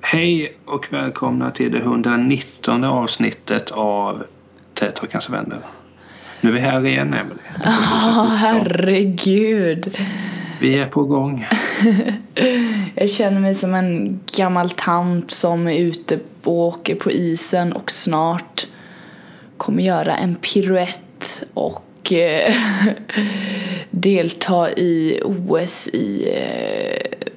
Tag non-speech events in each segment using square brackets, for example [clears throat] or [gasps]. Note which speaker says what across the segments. Speaker 1: Hej och välkomna till det 119 avsnittet av Tätt och kanske vänner. Nu är vi här igen, Emelie.
Speaker 2: Ja, Ah, herregud.
Speaker 1: Vi är på gång.
Speaker 2: Jag känner mig som en gammal tant som är ute och åker på isen och snart kommer göra en piruett och eh, [laughs] delta i OS i... eh,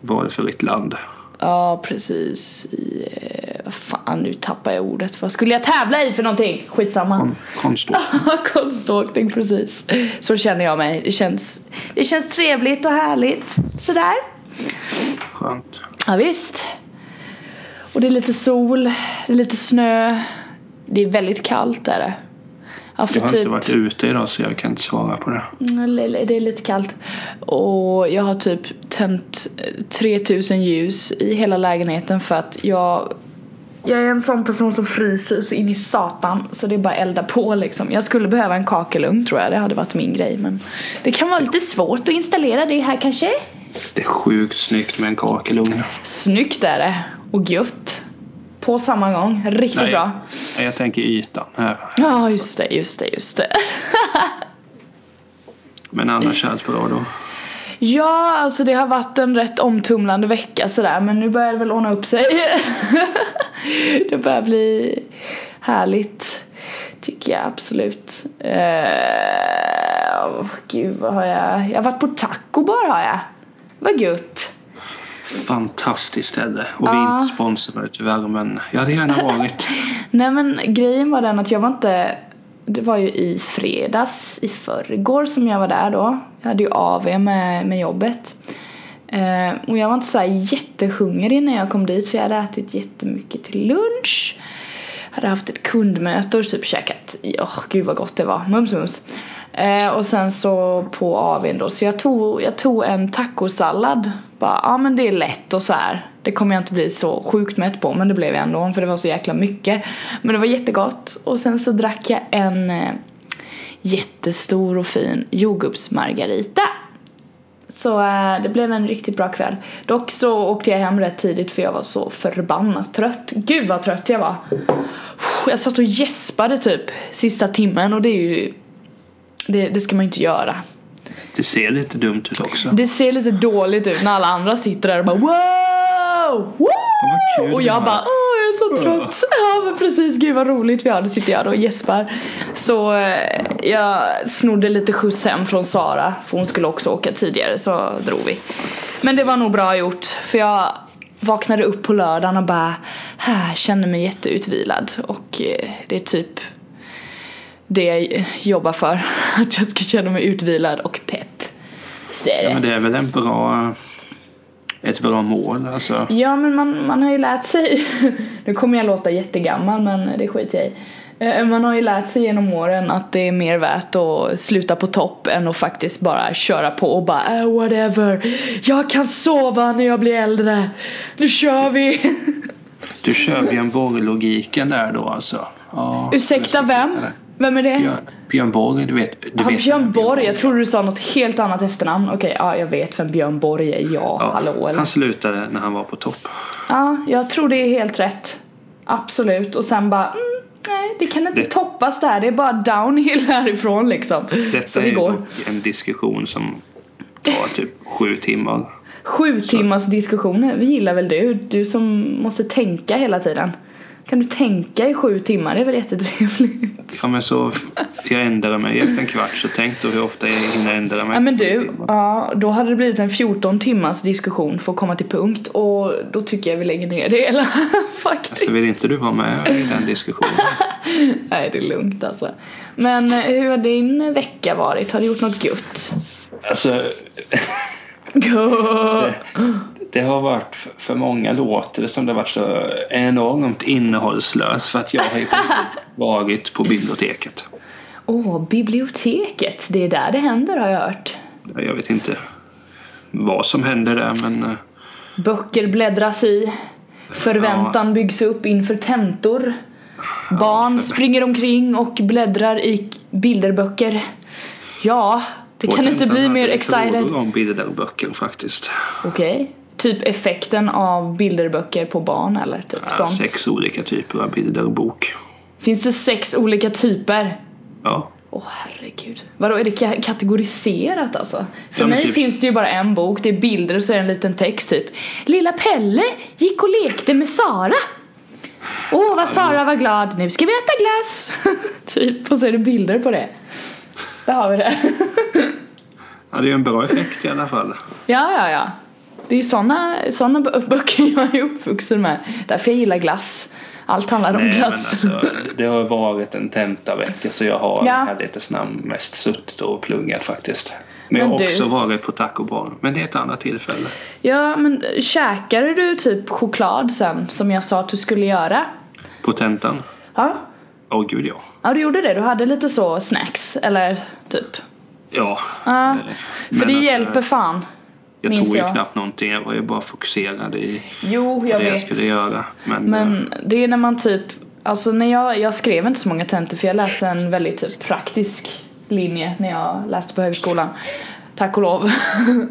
Speaker 1: Vad för ett land?
Speaker 2: Ja, precis. I... eh, Vad fan, nu tappar jag ordet. Vad skulle jag tävla i för någonting? Skitsamma.
Speaker 1: Kon- Konståk.
Speaker 2: [laughs] Ah, Konståkning, precis. Så känner jag mig. Det känns, det känns trevligt och härligt. Sådär.
Speaker 1: Skönt.
Speaker 2: Ja, visst. Och det är lite sol, det är lite snö. Det är väldigt kallt är det. Ja, för
Speaker 1: Jag har
Speaker 2: typ,
Speaker 1: inte varit ute idag så jag kan inte svara på det.
Speaker 2: Mm, det är lite kallt. Och jag har typ tänt eh, 3000 ljus i hela lägenheten för att jag jag är en sån person som fryser så in i satan så det är bara elda på liksom. Jag skulle behöva en kakelugn tror jag, det hade varit min grej men det kan vara lite svårt att installera det här kanske.
Speaker 1: Det är sjukt snyggt med en kakelugn.
Speaker 2: Snyggt är det och gött. På samma gång, riktigt bra.
Speaker 1: Nej, jag tänker ytan här.
Speaker 2: Ja, just det, just det, just det. [laughs]
Speaker 1: Men annars är allt bra då.
Speaker 2: Ja, alltså det har varit en rätt omtumlande vecka sådär men nu börjar det väl ordna upp sig. [laughs] det börjar bli härligt. Tycker jag absolut. Eh, åh, gud, vad har jag? Jag har varit på taco bar har jag. Vad gött.
Speaker 1: Fantastiskt ställe. Och vi är
Speaker 2: Ja.
Speaker 1: inte sponsrade tyvärr men jag hade gärna varit.
Speaker 2: Nej men grejen var den att jag var inte Det var ju i fredags i förrgår som jag var där då Jag hade ju AV med, med jobbet eh, Och jag var inte så här jättehungrig när jag kom dit för jag hade ätit jättemycket till lunch Hade haft ett kundmöte och typ käkat, ja gud vad gott det var, mums mums eh, Och sen så på AVn då så jag tog, jag tog en tacosallad Bara, ja men det är lätt och så här det kommer jag inte bli så sjukt mätt på men det blev jag ändå för det var så jäkla mycket. Men det var jättegott och sen så drack jag en eh, jättestor och fin jordgubbsmargarita. Så eh, det blev en riktigt bra kväll. Dock så åkte jag hem rätt tidigt för jag var så förbannat trött. Gud vad trött jag var. Jag satt och gäspade typ sista timmen och det är ju det, det ska man ju inte göra.
Speaker 1: Det ser lite dumt ut också.
Speaker 2: Det ser lite dåligt ut när alla andra sitter där och bara wow!
Speaker 1: vad kul
Speaker 2: wow! Och
Speaker 1: vi
Speaker 2: jag
Speaker 1: har.
Speaker 2: bara åh jag är så trött. Ja men precis gud vad roligt vi har. Det sitter jag då och gäspar. Så eh, jag snodde lite skjuts hem från Sara för hon skulle också åka tidigare så drog vi. Men det var nog bra gjort för jag vaknade upp på lördagen och bara här kände mig jätteutvilad och eh, det är typ det jag jobbar för. [laughs] Att jag ska känna mig utvilad och pepp. Så är det.
Speaker 1: Ja, men det är väl en bra, ett bra mål alltså.
Speaker 2: Ja men man, man har ju lärt sig, [laughs] nu kommer jag låta jättegammal men det skiter jag i. Eh, Man har ju lärt sig genom åren att det är mer värt att sluta på topp än att faktiskt bara köra på och bara "Ah, whatever, jag kan sova när jag blir äldre, nu kör vi! [laughs]
Speaker 1: Du kör Björn Borg-logiken där då alltså. Ja,
Speaker 2: Ursäkta
Speaker 1: jag ska
Speaker 2: vem?
Speaker 1: titta där.
Speaker 2: Vem är det?
Speaker 1: Björn, Björn Borg, du vet. Du
Speaker 2: Ja,
Speaker 1: vet
Speaker 2: Björn Borg, jag tror du sa något helt annat efternamn. Okej, ja jag vet vem Björn Borg är, ja,
Speaker 1: Ja,
Speaker 2: hallå eller?
Speaker 1: Han slutade när han var på topp.
Speaker 2: Ja, jag tror det är helt rätt. Absolut. Och sen bara, mm, nej det kan inte
Speaker 1: Det-
Speaker 2: toppas det här. Det är bara downhill [laughs] härifrån liksom. Så
Speaker 1: Detta
Speaker 2: det
Speaker 1: är
Speaker 2: går.
Speaker 1: dock en diskussion som tar typ sju timmar.
Speaker 2: Sju timmars diskussioner, vi gillar väl du? Du som måste tänka hela tiden. Kan du tänka i sju timmar? Det är
Speaker 1: [laughs]
Speaker 2: väl jättetrevligt?
Speaker 1: Ja men så, jag ändrar mig efter en kvart så tänk då hur ofta jag hinner ändra mig.
Speaker 2: Ja men du, ja, då hade det blivit en 14 timmars diskussion för att komma till punkt och då tycker jag vi lägger ner det hela [laughs] faktiskt.
Speaker 1: Så vill inte du vara med i den diskussionen?
Speaker 2: Nej det är lugnt alltså. Men eh, hur har din vecka varit? Har du gjort något gött?
Speaker 1: Alltså,
Speaker 2: Gött!
Speaker 1: det har varit f- för många låtar som det har varit så enormt innehållslöst för att jag
Speaker 2: [laughs]
Speaker 1: har ju varit på biblioteket.
Speaker 2: Åh, biblioteket. Det är där det händer har jag hört.
Speaker 1: Jag vet inte vad som händer där men eh,
Speaker 2: Böcker bläddras i. Förväntan byggs upp inför tentor. Barn springer omkring och bläddrar i k- bilderböcker. Ja, det
Speaker 1: vår
Speaker 2: kan inte
Speaker 1: tenta
Speaker 2: bli
Speaker 1: hade
Speaker 2: mer excited.
Speaker 1: frågor om bilderböcker faktiskt.
Speaker 2: Okej. Typ effekten av bilderböcker på barn eller typ
Speaker 1: Ja,
Speaker 2: sånt.
Speaker 1: sex olika typer av bilderbok.
Speaker 2: Finns det sex olika typer?
Speaker 1: Ja.
Speaker 2: Åh herregud. Vadå är det ka- kategoriserat alltså? För
Speaker 1: Ja, men
Speaker 2: mig
Speaker 1: typ-
Speaker 2: finns det ju bara en bok, det är bilder och så är det en liten text typ. Lilla Pelle gick och lekte med Sara. Åh vad Sara var glad, nu ska vi äta glass. [laughs] typ, och så är det bilder på det. Där har vi det. [laughs]
Speaker 1: ja, det är ju en bra effekt i alla fall.
Speaker 2: ja, ja, ja. Det är ju sådana såna bö- böcker jag är uppvuxen med. Därför jag gillar glass. Allt handlar om
Speaker 1: Nej, men
Speaker 2: glass.
Speaker 1: alltså, det har varit en tentavecka så jag har
Speaker 2: Ja.
Speaker 1: i ärlighetens namn mest suttit och pluggat faktiskt. Men, jag
Speaker 2: Men
Speaker 1: har
Speaker 2: du-
Speaker 1: också varit på taco bar. Men det är ett annat tillfälle.
Speaker 2: [laughs] Ja, men käkade du typ choklad sen som jag sa att du skulle göra?
Speaker 1: På tentan?
Speaker 2: Ja.
Speaker 1: Åh gud ja.
Speaker 2: Ja, du gjorde det. Du hade lite så snacks, eller typ.
Speaker 1: Ja.
Speaker 2: Ja,
Speaker 1: Eh,
Speaker 2: för
Speaker 1: men
Speaker 2: det
Speaker 1: alltså,
Speaker 2: hjälper fan.
Speaker 1: Jag
Speaker 2: minns
Speaker 1: tog ju
Speaker 2: jag.
Speaker 1: knappt någonting. Jag var ju bara fokuserad i
Speaker 2: Jo, jag
Speaker 1: det jag
Speaker 2: vet.
Speaker 1: skulle göra. Men, eh,
Speaker 2: Men det är när man typ, alltså när jag, jag skrev inte så många tentor för jag läste en väldigt typ praktisk linje när jag läste på högskolan. Tack och lov. [laughs]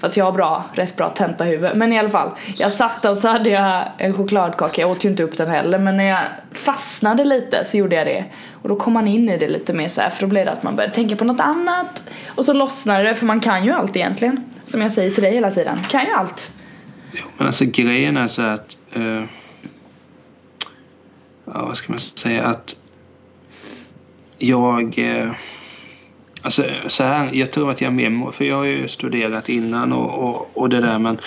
Speaker 2: Fast jag har bra, rätt bra tentahuvud. Men i alla fall, jag satt där och så hade jag en chokladkaka. Jag åt ju inte upp den heller men när jag fastnade lite så gjorde jag det. Och då kom man in i det lite mer så här för då blev det att man började tänka på något annat. Och så lossnade det för man kan ju allt egentligen. Som jag säger till dig hela tiden, kan ju allt.
Speaker 1: men alltså grejen är så här att... eh, ja, vad ska man säga? Att jag... eh, alltså så här, jag tror att jag är mer... mo- För jag har ju studerat innan och, och, och det där men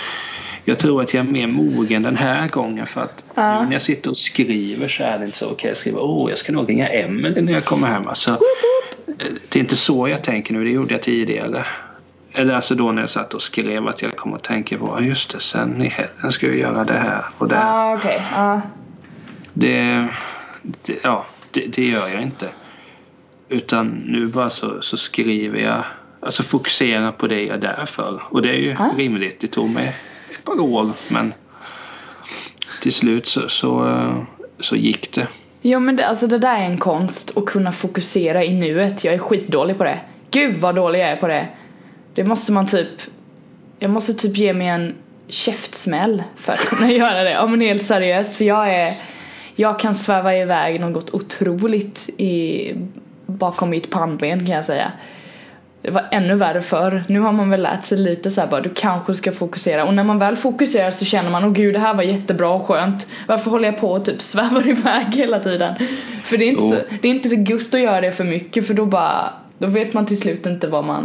Speaker 1: jag tror att jag är mer mogen den här gången för att
Speaker 2: Ja.
Speaker 1: nu när jag sitter och skriver så är det inte så okej jag skriver åh jag ska nog ringa Emelie när jag kommer hem. Alltså, eh, det är inte så jag tänker nu, det gjorde jag tidigare. Eller alltså då när jag satt och skrev att jag kom att tänka på, "Ja, just det, sen i helgen ska jag göra det här och det.
Speaker 2: Ja,
Speaker 1: här."
Speaker 2: ah, okej. Ah.
Speaker 1: Det, det, ja, det, det gör jag inte. Utan nu bara så, så skriver jag, alltså fokuserar på det jag är där för. Och det är ju
Speaker 2: Ja.
Speaker 1: rimligt, det tog mig ett par år men till slut så, så, eh, så gick det.
Speaker 2: Ja men det, alltså det där är en konst att kunna fokusera i nuet. Jag är skitdålig på det. Gud vad dålig jag är på det. Det måste man typ... Jag måste typ ge mig en käftsmäll för att kunna [laughs] göra det. Ja men helt seriöst för jag är... Jag kan sväva iväg något otroligt i, bakom mitt pannben kan jag säga. Det var ännu värre förr. Nu har man väl lärt sig lite så här bara, du kanske ska fokusera. Och när man väl fokuserar så känner man, åh gud det här var jättebra och skönt. Varför håller jag på och typ svävar [laughs] iväg hela tiden? För det är inte,
Speaker 1: Jo.
Speaker 2: så, det är inte det gött att göra det för mycket för då bara, då vet man till slut inte var man,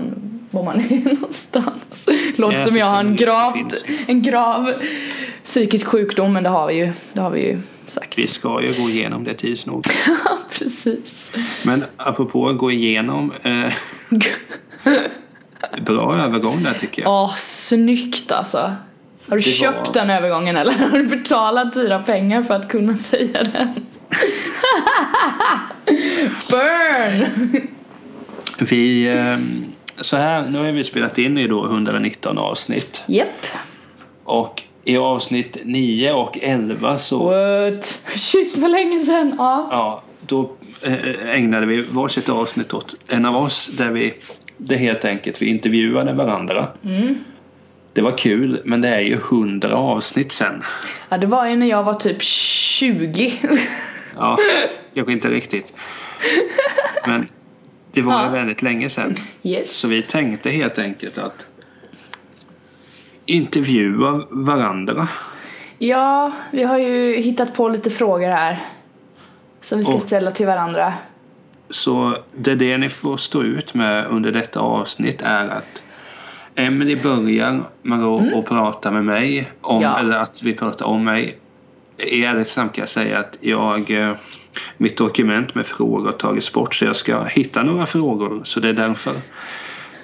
Speaker 2: var man [laughs] är någonstans. Låter
Speaker 1: Nej,
Speaker 2: som jag har en
Speaker 1: det
Speaker 2: gravt,
Speaker 1: finns
Speaker 2: en grav psykisk sjukdom men det har vi ju, det har vi ju sagt.
Speaker 1: Vi ska ju gå igenom det tids nog.
Speaker 2: Ja, [laughs] precis.
Speaker 1: Men apropå att gå igenom, eh, bra övergång där tycker jag.
Speaker 2: Ja, snyggt alltså. Har du
Speaker 1: Det
Speaker 2: köpt
Speaker 1: var-
Speaker 2: den övergången eller [laughs] har du betalat dyra pengar för att kunna säga den? [laughs] Burn!
Speaker 1: Vi, eh, så här, nu har vi spelat in i då 119 avsnitt.
Speaker 2: Japp.
Speaker 1: Och i avsnitt 9 och 11 så
Speaker 2: What? Shit vad länge sen. Ja.
Speaker 1: ja, då eh, ägnade vi varsitt avsnitt åt en av oss där vi det helt enkelt vi intervjuade varandra. Det var kul men det är ju 100 avsnitt sen.
Speaker 2: ja, det var ju när jag var typ 20.
Speaker 1: Ja, kanske inte riktigt. Men det var
Speaker 2: Ja.
Speaker 1: ju väldigt länge sen.
Speaker 2: [laughs] Yes.
Speaker 1: Så vi tänkte helt enkelt att intervjua varandra.
Speaker 2: Ja, vi har ju hittat på lite frågor här. Som vi ska
Speaker 1: Och-
Speaker 2: ställa till varandra.
Speaker 1: Så det, är det ni får stå ut med under detta avsnitt är att Emily börjar med att att prata med mig, om,
Speaker 2: Mm. Ja.
Speaker 1: eller att vi pratar om mig. I ärlighetens namn kan jag säga att jag, eh, mitt dokument med frågor har tagits bort så jag ska hitta några frågor. Så det är därför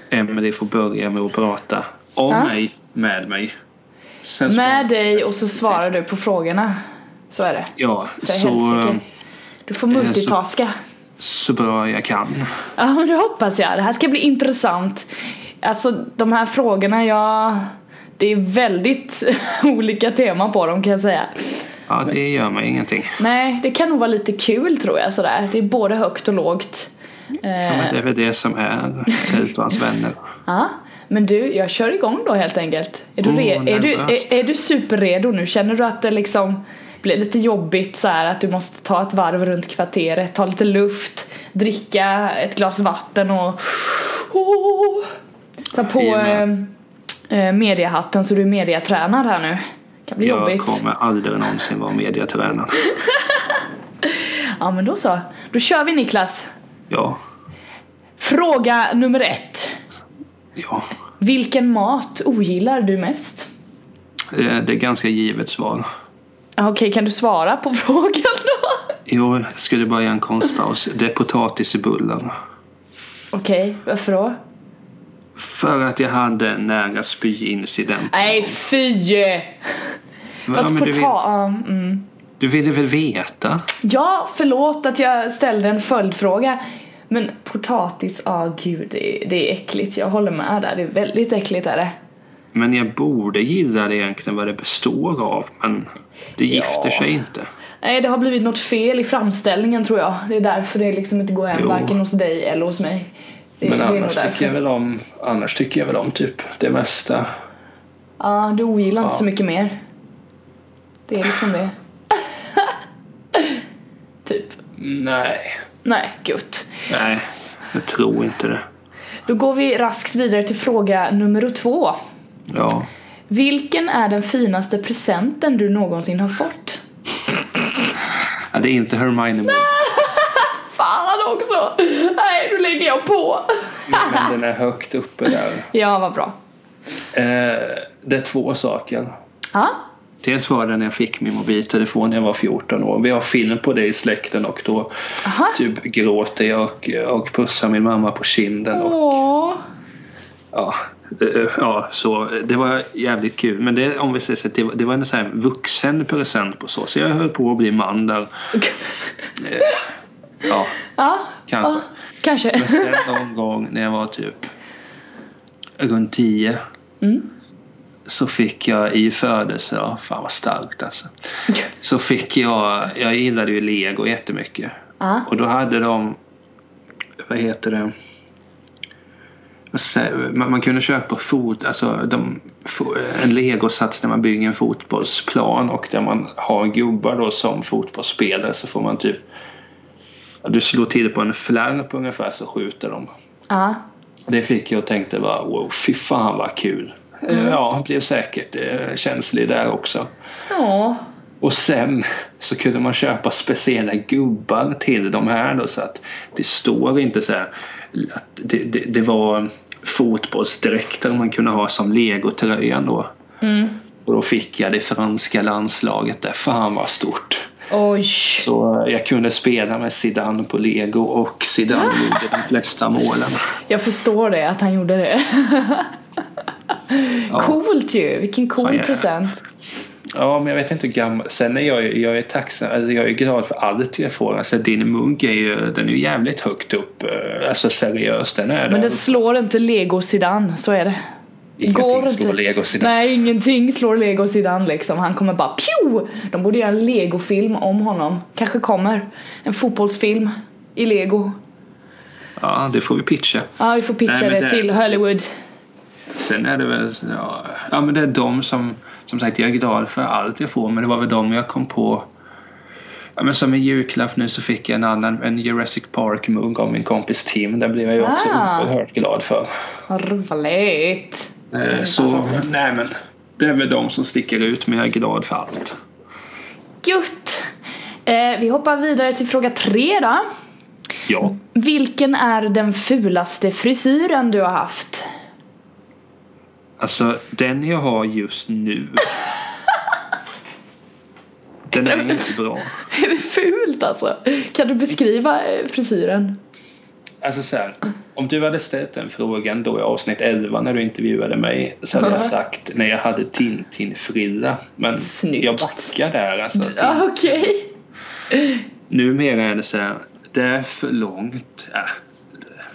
Speaker 1: Emily får börja med att prata om
Speaker 2: Ja.
Speaker 1: mig, med mig. Sen svarar-
Speaker 2: Med dig och så svarar du på frågorna. Så är det.
Speaker 1: Ja,
Speaker 2: För
Speaker 1: så, eh,
Speaker 2: helsike. Du får multitaska.
Speaker 1: så bra jag kan.
Speaker 2: Ja men det hoppas jag. Det här ska bli intressant. Alltså de här frågorna, jag... Det är väldigt [laughs] olika teman på dem kan jag säga.
Speaker 1: Ja, det gör mig ingenting.
Speaker 2: Nej, det kan nog vara lite kul tror jag sådär. Det är både högt och lågt.
Speaker 1: Ja, men det är väl det som är Knut och hans vänner.
Speaker 2: Ja, men du, jag kör igång då helt enkelt. Är du,
Speaker 1: Oh,
Speaker 2: re- är du,
Speaker 1: nervöst.
Speaker 2: är, är du superredo nu? Känner du att det liksom blir lite jobbigt så här att du måste ta ett varv runt kvarteret, ta lite luft, dricka ett glas vatten och oh, ta på
Speaker 1: Jajamän.
Speaker 2: eh, eh, mediahatten så du är mediatränad här nu. [laughs] Det kan bli
Speaker 1: Jag
Speaker 2: jobbigt.
Speaker 1: kommer aldrig någonsin vara mediatränad.
Speaker 2: Ja men då så. Då kör vi Niklas.
Speaker 1: Ja,
Speaker 2: Fråga nummer ett.
Speaker 1: ja.
Speaker 2: Vilken mat ogillar du mest?
Speaker 1: Eh, Det är ganska givet svar.
Speaker 2: Ja, Okej, kan du svara på [laughs] frågan då?
Speaker 1: Jo, jag skulle bara göra en konstpaus. Det är potatis i bullen.
Speaker 2: Okej, varför då?
Speaker 1: För att jag hade en nära spyincident.
Speaker 2: Nej, fy!
Speaker 1: Va,
Speaker 2: Fast
Speaker 1: men du,
Speaker 2: pota-
Speaker 1: vill,
Speaker 2: ja, mm.
Speaker 1: du ville väl veta?
Speaker 2: Ja, förlåt att jag ställde en följdfråga. Men potatis, ja gud, det, det är äckligt. Jag håller med där. Det är väldigt äckligt är det.
Speaker 1: Men jag borde gilla det egentligen vad det består av. Men det gifter sig inte.
Speaker 2: Nej, det har blivit något fel i framställningen tror jag. Det är därför det liksom inte går hem
Speaker 1: Jo.
Speaker 2: varken hos dig eller hos mig. Det,
Speaker 1: Men
Speaker 2: det är nog
Speaker 1: annars tycker,
Speaker 2: därför.
Speaker 1: jag väl om, annars tycker jag väl om typ det mesta.
Speaker 2: Ja, du ogillar inte
Speaker 1: Ja.
Speaker 2: så mycket mer. Det är
Speaker 1: [laughs]
Speaker 2: liksom det. typ.
Speaker 1: Nej,
Speaker 2: Nej, gött.
Speaker 1: nej, jag tror inte det.
Speaker 2: Då går vi raskt vidare till fråga nummer två.
Speaker 1: Ja,
Speaker 2: Vilken är den finaste presenten du någonsin har fått?
Speaker 1: Ja, det är inte Hermione Moon,
Speaker 2: Fan han också! Nej, nu lägger jag på!
Speaker 1: men den är högt uppe där.
Speaker 2: ja, vad bra.
Speaker 1: Eh, det är två saker.
Speaker 2: Ja,
Speaker 1: Dels var det när jag fick min mobiltelefon när jag var 14 år. Vi har film på det i släkten och då
Speaker 2: aha.
Speaker 1: typ gråter jag och, och pussar min mamma på kinden. Och,
Speaker 2: Åh.
Speaker 1: ja, eh, ja, så det var jävligt kul. Men det, om vi säger så, att det, var- det var en sån här vuxen present på så. Så jag höll på att bli man där. Eh, ja,
Speaker 2: Ja,
Speaker 1: kanske.
Speaker 2: ja, kanske.
Speaker 1: Men sen någon gång när jag var typ runt 10
Speaker 2: Mm.
Speaker 1: så fick jag i födelsedag, fan vad starkt alltså. Så fick jag, jag gillade ju lego jättemycket.
Speaker 2: Ja,
Speaker 1: Och då hade de, vad heter det? Vad säger- Man, man kunde köpa fot, alltså de, fo- en legosats där man bygger en fotbollsplan och där man har gubbar då som fotbollsspelare så får man typ ja, du slår till på en flärp ungefär så skjuter de.
Speaker 2: ja.
Speaker 1: Det fick jag och tänkte bara wow, fy fan vad kul. Eh, Ja, blev säkert eh, känslig där också.
Speaker 2: Ja.
Speaker 1: Och sen så kunde man köpa speciella gubbar till de här då så att det står inte så här att det, det, det var fotbollsdräkter man kunde ha som legotröjan då.
Speaker 2: Mm.
Speaker 1: Och då fick jag det franska landslaget där. Fan vad stort.
Speaker 2: Oj.
Speaker 1: Så jag kunde spela med Zidane på lego och Zidane gjorde de flesta målen.
Speaker 2: Jag förstår det, att han gjorde det.
Speaker 1: Ja.
Speaker 2: Coolt ju, vilken cool
Speaker 1: Fan, ja.
Speaker 2: present.
Speaker 1: Ja, men jag vet inte hur gammal. Sen är jag ju, jag är tacksam, alltså jag är glad för allt jag får. Alltså din mugg är ju, den är ju jävligt högt upp. eh, Alltså seriöst, den är
Speaker 2: Men
Speaker 1: där.
Speaker 2: det slår inte Lego Zidane, så är det.
Speaker 1: Ingenting
Speaker 2: går
Speaker 1: slår
Speaker 2: inte.
Speaker 1: Lego sidan.
Speaker 2: Nej, ingenting slår Lego Zidane liksom. Han kommer bara pju! De borde göra en Lego-film om honom. Kanske kommer. En fotbollsfilm i Lego.
Speaker 1: Ja, det får vi pitcha.
Speaker 2: Ja, vi får pitcha
Speaker 1: Nej, men
Speaker 2: det,
Speaker 1: det-
Speaker 2: till Hollywood.
Speaker 1: Sen är det väl, ja, ja men det är de som, som sagt jag är glad för allt jag får men det var väl de jag kom på. Ja, men som en julklapp nu så fick jag en annan, en Jurassic Park mugg av min kompis Tim. Den blev jag ju också
Speaker 2: Ah.
Speaker 1: oerhört glad för.
Speaker 2: Vad roligt.
Speaker 1: Eh, Så nej men, det är väl de som sticker ut men jag är glad för allt.
Speaker 2: Gött! Eh, vi hoppar vidare till fråga tre då.
Speaker 1: Ja.
Speaker 2: Vilken är den fulaste frisyren du har haft? [laughs]
Speaker 1: Alltså den jag har just nu. den är ju inte bra.
Speaker 2: Är det fult alltså? Kan du beskriva eh, frisyren?
Speaker 1: Alltså så här, om du hade ställt den frågan då i avsnitt 11 när du intervjuade mig så hade jag
Speaker 2: Ja.
Speaker 1: sagt när jag hade Tintin-frilla. Men
Speaker 2: Snyggt.
Speaker 1: jag backar där alltså.
Speaker 2: Ja, okej.
Speaker 1: Numera är det så här, det är för långt. Äh,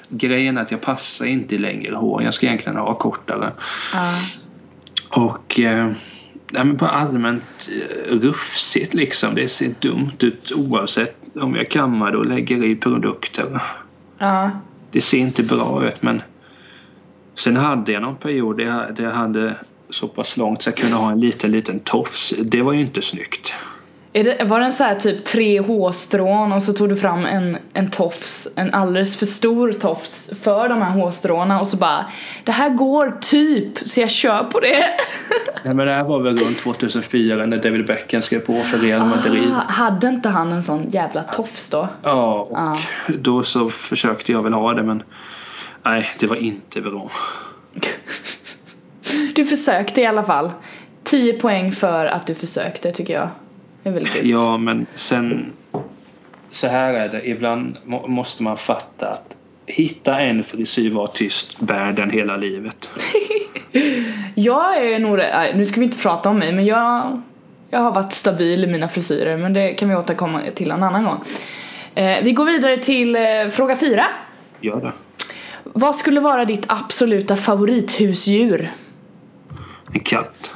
Speaker 1: grejen är att jag passar inte i längre hår. Jag ska egentligen ha kortare.
Speaker 2: Ja.
Speaker 1: Och eh, nej, men bara allmänt eh, rufsigt liksom. Det ser dumt ut oavsett om jag kammar det och lägger i produkter.
Speaker 2: Ja.
Speaker 1: Det ser inte bra ut men sen hade jag någon period där jag, där jag hade så pass långt så jag kunde ha en liten liten tofs. Det var ju inte snyggt.
Speaker 2: Är det, var den så här typ tre hårstrån och så tog du fram en, en tofs, en alldeles för stor tofs för de här hårstråna och så bara Det här går typ så jag kör på det.
Speaker 1: Nej, men det här var väl runt 2004 när David Beckham skrev på för Real Madrid.
Speaker 2: Ah, hade inte han en sån jävla tofs då?
Speaker 1: Ja, och
Speaker 2: Ja.
Speaker 1: då så försökte jag väl ha det men nej, det var inte bra.
Speaker 2: Du försökte i alla fall. 10 poäng för att du försökte tycker jag. Det är väldigt grymt.
Speaker 1: Ja, men sen så här är det. Ibland må- måste man fatta att hitta en frisyr, var tyst, bär den hela livet.
Speaker 2: Jag är nog, nej, nu ska vi inte prata om mig men jag, jag har varit stabil i mina frisyrer men det kan vi återkomma till en annan gång. Eh, vi går vidare till eh, fråga fyra.
Speaker 1: Gör det.
Speaker 2: Vad skulle vara ditt absoluta favorithusdjur?
Speaker 1: En katt.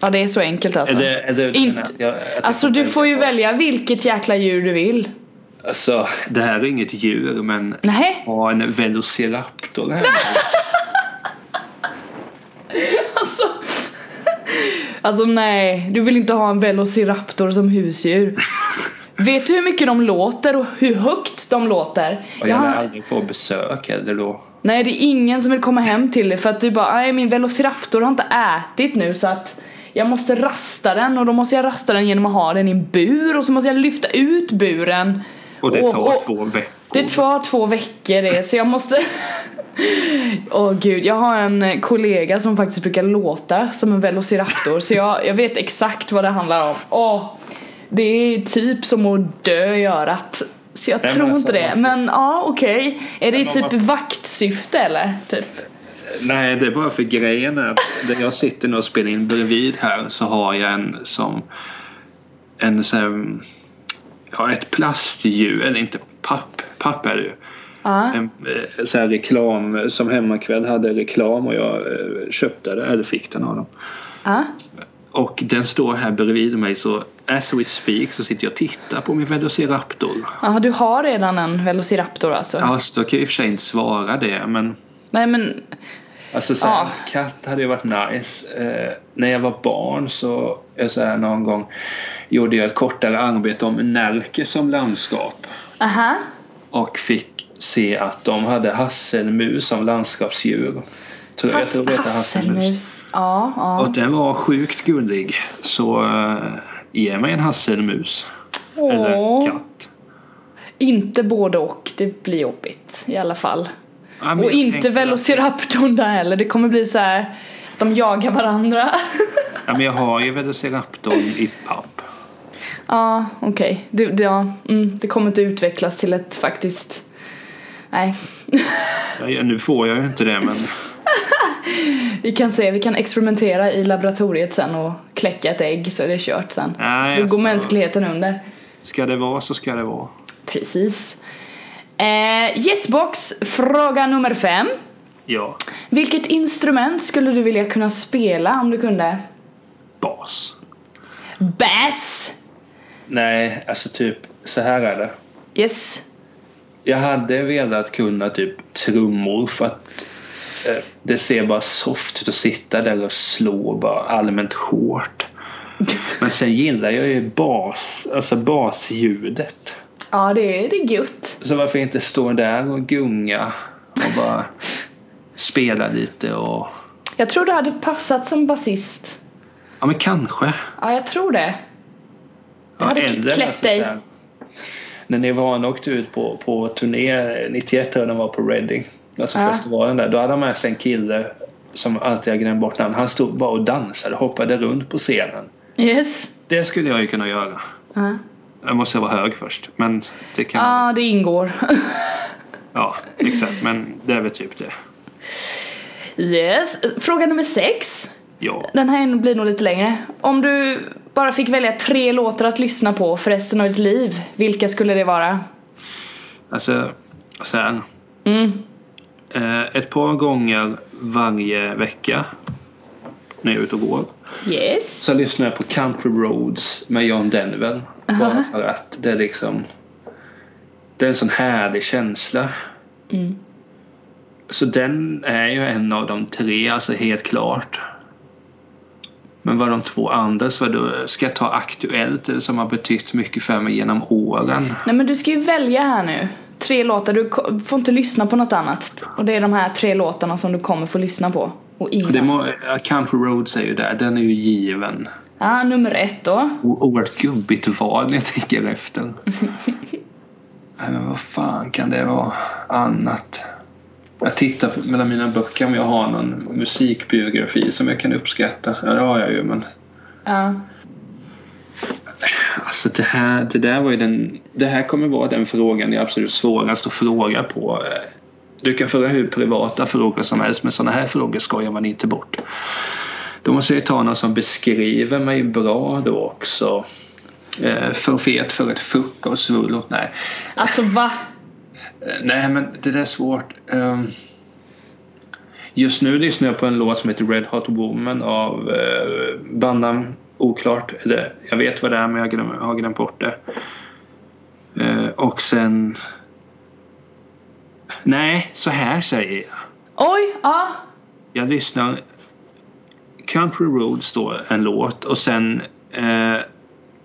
Speaker 2: Ja det är så enkelt alltså.
Speaker 1: Eller, eller,
Speaker 2: Inte-
Speaker 1: att jag- att jag
Speaker 2: Alltså du får ju
Speaker 1: så.
Speaker 2: välja vilket jäkla djur du vill.
Speaker 1: Alltså, det här är inget djur, men
Speaker 2: Nej, [laughs]
Speaker 1: ha en velociraptor här.
Speaker 2: alltså. Alltså nej, du vill inte ha en velociraptor som husdjur. Vet du hur mycket de låter och hur högt de låter?
Speaker 1: Och jag
Speaker 2: har-
Speaker 1: lär aldrig få besök eller då.
Speaker 2: Nej det är ingen som vill komma hem till dig för att du bara nej min velociraptor har inte ätit nu så att jag måste rasta den och då måste jag rasta den genom att ha den i en bur och så måste jag lyfta ut buren.
Speaker 1: Och det tar
Speaker 2: och-
Speaker 1: två veckor.
Speaker 2: Det tar två veckor det så jag måste [laughs] Åh gud, jag har en kollega som faktiskt brukar låta som en velociraptor så jag, jag vet exakt vad det handlar om. Åh, det är typ som att dö i örat. Så jag
Speaker 1: Nej, men
Speaker 2: tror
Speaker 1: alltså,
Speaker 2: inte det.
Speaker 1: man får-
Speaker 2: Men ja, okej. Är det
Speaker 1: Men om
Speaker 2: typ
Speaker 1: man-
Speaker 2: vaktsyfte eller? Typ?
Speaker 1: Nej, det är bara för grejen är att där jag sitter nu och spelar in bredvid här så har jag en som en sån här, ja, ett plastdjur, eller inte papp, papp är det ju.
Speaker 2: Ja.
Speaker 1: En eh, sån här reklam som Hemmakväll hade reklam och jag eh, köpte det, eller fick den av dem.
Speaker 2: Ja.
Speaker 1: Och den står här bredvid mig så as we speak så sitter jag och tittar på min Velociraptor.
Speaker 2: Jaha, du har redan en Velociraptor alltså?
Speaker 1: Alltså, jag kan ju i och för sig inte svara det men
Speaker 2: Nej men,
Speaker 1: Alltså så här,
Speaker 2: Ja.
Speaker 1: katt hade ju varit nice. Eh, när jag var barn så, eh, så här, någon gång gjorde jag ett kortare arbete om Närke som landskap
Speaker 2: aha.
Speaker 1: och fick se att de hade hasselmus som landskapsdjur. Tror, jag tror det heter hasselmus.
Speaker 2: hasselmus. Ja, ja.
Speaker 1: Och den var sjukt gullig. Så eh, ge mig en hasselmus. Eller
Speaker 2: Åh.
Speaker 1: katt.
Speaker 2: Inte både och, det blir jobbigt i alla fall.
Speaker 1: Ja, men
Speaker 2: Och
Speaker 1: jag
Speaker 2: inte
Speaker 1: tänker att-
Speaker 2: Velociraptorn där heller, det kommer bli så här att de jagar varandra.
Speaker 1: Ja, men jag har ju Velociraptorn i papp.
Speaker 2: ja, okej. Du- du- Ja, mm, det kommer inte utvecklas till ett faktiskt... Nej.
Speaker 1: Ja, Nu får jag ju inte det men
Speaker 2: Vi kan se, vi kan experimentera i laboratoriet sen och kläcka ett ägg så är det kört sen.
Speaker 1: Nej,
Speaker 2: Då går
Speaker 1: alltså.
Speaker 2: mänskligheten under.
Speaker 1: ska det vara så ska det vara.
Speaker 2: Precis. Eh, Yesbox, fråga nummer fem.
Speaker 1: Ja.
Speaker 2: Vilket instrument skulle du vilja kunna spela om du kunde?
Speaker 1: bas.
Speaker 2: Bass!
Speaker 1: Nej, alltså typ så här är det.
Speaker 2: Yes.
Speaker 1: Jag hade velat kunna typ trummor för att eh, det ser bara soft ut att sitta där och slå bara allmänt hårt. Men sen gillar jag ju bas, alltså basljudet.
Speaker 2: Ja, det är, det är gött.
Speaker 1: Så varför inte stå där och gunga och bara spela lite och...
Speaker 2: Jag tror du hade passat som basist.
Speaker 1: Ja men kanske.
Speaker 2: Ja, jag tror det.
Speaker 1: Ja,
Speaker 2: hade
Speaker 1: äldre
Speaker 2: klätt
Speaker 1: alltså,
Speaker 2: dig.
Speaker 1: så här. När Nirvana åkte ut på, på turné 91 tror jag de var på Reading. Alltså
Speaker 2: Ja.
Speaker 1: festivalen där. Då hade de med sig en kille som alltid jag glömt bort namn. Han stod bara och dansade, hoppade runt på scenen.
Speaker 2: Yes.
Speaker 1: Det skulle jag ju kunna göra.
Speaker 2: Ja,
Speaker 1: Jag måste vara hög först. Men det kan
Speaker 2: ja det ingår. [laughs]
Speaker 1: Ja, exakt. Men det är väl typ det.
Speaker 2: yes. Fråga nummer sex.
Speaker 1: Ja.
Speaker 2: Den här blir nog lite längre. Om du bara fick välja tre låtar att lyssna på för resten av ditt liv, vilka skulle det vara?
Speaker 1: Alltså, Så här,
Speaker 2: Mm.
Speaker 1: eh, ett par gånger varje vecka när jag är ute och går.
Speaker 2: Yes.
Speaker 1: Så lyssnar jag på Country Roads med John Denver. Bara för att det är liksom Det är en sån härlig känsla.
Speaker 2: Mm.
Speaker 1: Så den är ju en av de tre, alltså helt klart. Men vad de två andra så då ska jag ta aktuellt eller som har betytt mycket för mig genom åren.
Speaker 2: Nej men du ska ju välja här nu. Tre låtar, du ko- får inte lyssna på något annat. Och det är de här tre låtarna som du kommer få lyssna på. Och innan.
Speaker 1: Det må, ja, Country Roads är ju där, den är ju given.
Speaker 2: Ja, nummer ett då.
Speaker 1: O- Oerhört gubbigt val när jag tänker efter. [laughs] Nej, Men vad fan kan det vara annat? Jag tittar mellan mina böcker om jag har någon musikbiografi som jag kan uppskatta. Ja, det har jag ju men
Speaker 2: Ja.
Speaker 1: Alltså det här, det där var ju den, det här kommer vara den frågan det är absolut svårast att fråga på. eh, Du kan föra hur privata frågor som helst men sådana här frågor skojar man inte bort. Då måste jag ju ta någon som beskriver mig bra då också. Eh, För fet för ett fuck och svullot. Nej.
Speaker 2: Alltså va?
Speaker 1: Eh, Nej men det där är svårt. Ehm, Just nu lyssnar jag på en låt som heter Red Hot Woman av eh, bandnamn oklart. Eller, jag vet vad det är men jag glöm, har glömt bort det. Eh, och sen... Nej, så här säger jag.
Speaker 2: Oj, ja.
Speaker 1: Jag lyssnar... Country Roads då, en låt och sen eh,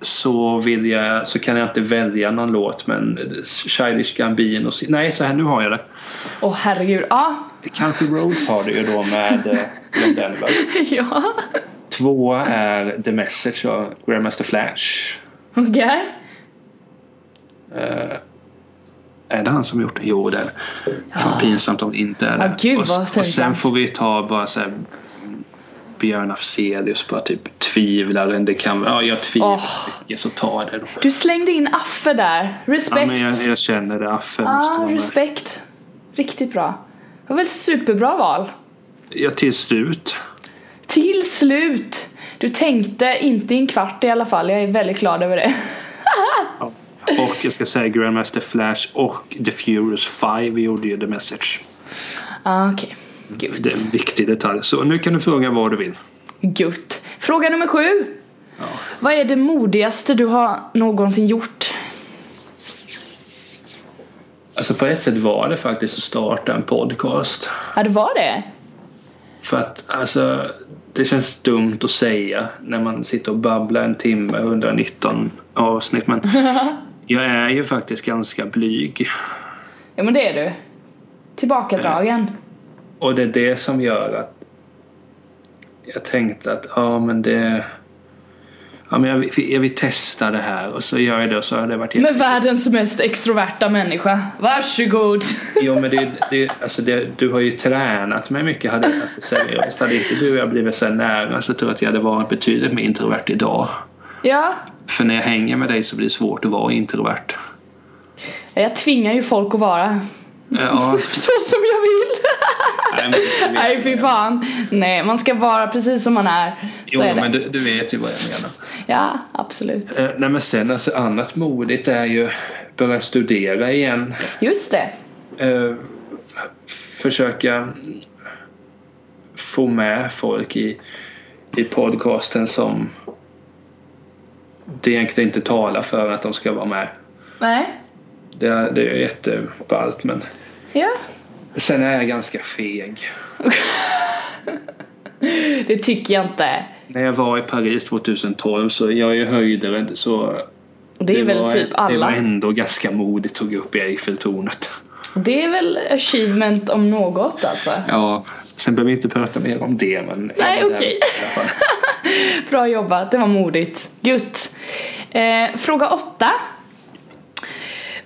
Speaker 1: så vill jag, så kan jag inte välja någon låt men Childish Gambino, nej så här nu har jag det.
Speaker 2: Åh herregud, ja.
Speaker 1: Country Roads har du ju då med eh, John Denver.
Speaker 2: ja.
Speaker 1: Tvåa är The Message av Grandmaster Flash.
Speaker 2: Okej.
Speaker 1: Är det han som gjort det? Jo, det är det. Fan pinsamt om det inte är det.
Speaker 2: Ja, gud,
Speaker 1: och,
Speaker 2: vad
Speaker 1: och sen
Speaker 2: pinsamt.
Speaker 1: får vi ta bara så här Björn Afzelius bara typ tvivlaren. Det kan Ja, jag tvivlar
Speaker 2: Åh.
Speaker 1: mycket så ta det då.
Speaker 2: Du slängde in Affe där.
Speaker 1: Ja,
Speaker 2: Respekt.
Speaker 1: men jag, jag känner det. Affe måste
Speaker 2: Ja,
Speaker 1: vara med.
Speaker 2: Ah, respekt. Riktigt bra. Det var väl superbra val.
Speaker 1: Ja, till slut.
Speaker 2: Till slut! Du tänkte inte i en kvart i alla fall. Jag är väldigt glad över det. [laughs]
Speaker 1: Och jag ska säga Grandmaster Flash och The Furious Five gjorde ju The Message.
Speaker 2: Ah, Okej. Gud.
Speaker 1: Det är en viktig detalj. Så nu kan du fråga vad du vill.
Speaker 2: Gutt. Fråga nummer sju.
Speaker 1: Ja.
Speaker 2: Vad är det modigaste du har någonsin gjort?
Speaker 1: Alltså på ett sätt var det faktiskt att starta en podcast.
Speaker 2: Ja, det var det.
Speaker 1: För att alltså det känns dumt att säga när man sitter och babblar en timme, 119 avsnitt. Men jag är ju faktiskt ganska blyg.
Speaker 2: Ja, men det är du.
Speaker 1: Eh.
Speaker 2: Tillbakadragen.
Speaker 1: Och det är det som gör att jag tänkte att ja men det Ja, men jag, vill, jag vill testa det här och så gör jag det och så har det varit
Speaker 2: Med världens mest extroverta människa.
Speaker 1: [laughs]
Speaker 2: Varsågod.
Speaker 1: Jo men det, det, alltså det, du har ju tränat mig mycket. Hade, alltså, seriöst, hade inte du och jag blivit så här nära så tror jag att jag hade varit betydligt mer introvert idag.
Speaker 2: Ja.
Speaker 1: För när jag hänger med dig så blir det svårt att vara introvert.
Speaker 2: Jag tvingar ju folk att vara
Speaker 1: Ja,
Speaker 2: [laughs] så som
Speaker 1: [laughs]
Speaker 2: jag vill.
Speaker 1: nej, men,
Speaker 2: Nej, fy fan. Nej, man ska vara precis som man är. Så
Speaker 1: jo,
Speaker 2: är det.
Speaker 1: men du, du vet ju vad jag menar.
Speaker 2: Ja, absolut.
Speaker 1: Eh, nej men sen alltså annat modigt är ju börja studera igen.
Speaker 2: Just det.
Speaker 1: Eh, försöka få med folk i, i podcasten som det egentligen inte talar för att de ska vara med.
Speaker 2: Nej.
Speaker 1: Det är, det är jätteballt men
Speaker 2: Ja.
Speaker 1: sen är jag ganska feg.
Speaker 2: Det tycker jag inte.
Speaker 1: När jag var i Paris 2012 så jag är ju höjdrädd så
Speaker 2: Och det är väl
Speaker 1: var,
Speaker 2: typ
Speaker 1: Det var
Speaker 2: alla.
Speaker 1: ändå ganska modigt tog upp i Eiffeltornet.
Speaker 2: Det är väl achievement om något alltså.
Speaker 1: Ja, sen behöver vi inte prata mer om det men...
Speaker 2: Nej,
Speaker 1: Ja, det-
Speaker 2: okej.
Speaker 1: [laughs] i alla fall.
Speaker 2: Bra jobbat, det var modigt. Gutt. Eh, fråga åtta.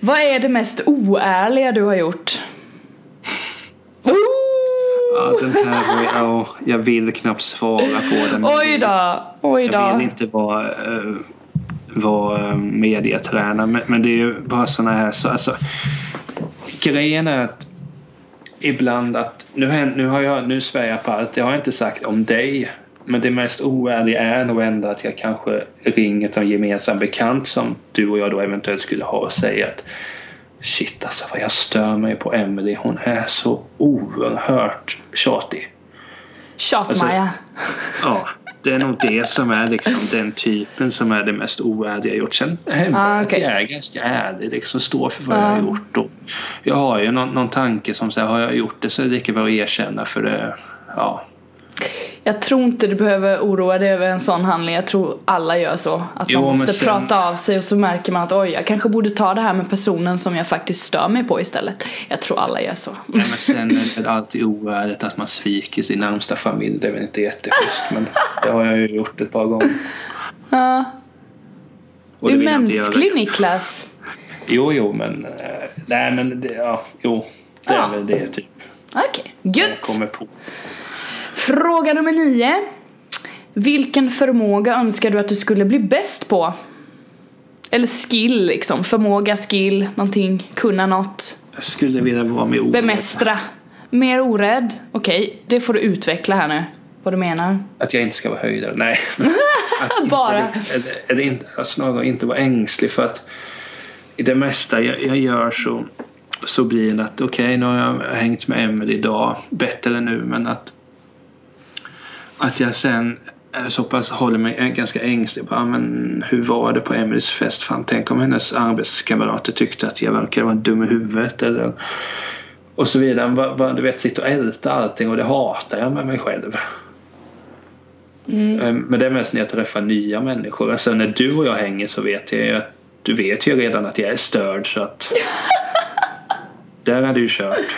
Speaker 2: Vad är det mest oärliga du har gjort?
Speaker 1: [laughs] Ja,
Speaker 2: Oh!
Speaker 1: den här, var- ja, jag vill knappt svara på den. men
Speaker 2: Oj då, oj
Speaker 1: Jag vill
Speaker 2: då.
Speaker 1: inte vara, eh, vara eh, mediatränare men, men det är ju bara sådana här så, alltså, Grejen är att ibland att nu, hän- nu har jag, nu svär jag på allt, det har jag inte sagt om dig. Men det mest oärliga är nog ändå att jag kanske ringer till en gemensam bekant som du och jag då eventuellt skulle ha och säger att Shit alltså vad jag stör mig på Emily. Hon är så oerhört tjatig. Alltså-
Speaker 2: Tjat-Maja.
Speaker 1: Ja, det är nog det som är liksom den typen som är det mest oärliga jag gjort. Sen hävdar
Speaker 2: Ah,
Speaker 1: jag att
Speaker 2: okej.
Speaker 1: jag är ganska ärlig, liksom står för vad jag
Speaker 2: Ah.
Speaker 1: har gjort. Och jag har ju någon, någon tanke som säger har jag gjort det så är det lika bra att erkänna för det. Ja,
Speaker 2: Jag tror inte du behöver oroa dig över en sån handling. Jag tror alla gör så. Att
Speaker 1: Jo,
Speaker 2: man
Speaker 1: men
Speaker 2: måste
Speaker 1: sen-
Speaker 2: prata av sig och så märker man att oj, jag kanske borde ta det här med personen som jag faktiskt stör mig på istället. Jag tror alla gör så.
Speaker 1: Nej, men sen är det alltid oärligt att man sviker sin närmsta familj. Det är väl inte jätteschysst men det har jag ju gjort ett par gånger.
Speaker 2: Ja,
Speaker 1: Och
Speaker 2: du är
Speaker 1: vill jag inte göra.
Speaker 2: mänsklig Niklas.
Speaker 1: Jo, jo men eh, nej men det, ja, jo. Det är
Speaker 2: Ja.
Speaker 1: väl det typ
Speaker 2: Okej,
Speaker 1: jag
Speaker 2: gött!
Speaker 1: kommer på.
Speaker 2: Fråga nummer nio. Vilken förmåga önskar du att du skulle bli bäst på? Eller skill liksom, förmåga, skill, någonting, kunna något.
Speaker 1: Jag skulle vilja vara med orädd.
Speaker 2: Bemästra. Mer orädd. Okej, det får du utveckla här nu. Vad du menar.
Speaker 1: Att jag inte ska vara höjdare. Nej. Att inte
Speaker 2: Bara.
Speaker 1: liksom- Eller, eller inte, att snarare inte vara ängslig för att i det mesta jag, jag gör så, så blir det att okej nu har jag hängt med Emelie idag. Bättre nu men att att jag sen är så pass håller mig ganska ängslig. Bara, men hur var det på Emelies fest? Fan, tänk om hennes arbetskamrater tyckte att jag verkade vara dum i huvudet eller och så vidare. Va, va, du vet, sitta och älta allting och det hatar jag med mig själv. Eh, Men det är mest när jag träffar nya människor. Alltså när du och jag hänger så vet jag ju att du vet ju redan att jag är störd så att
Speaker 2: [laughs]
Speaker 1: där är du kört.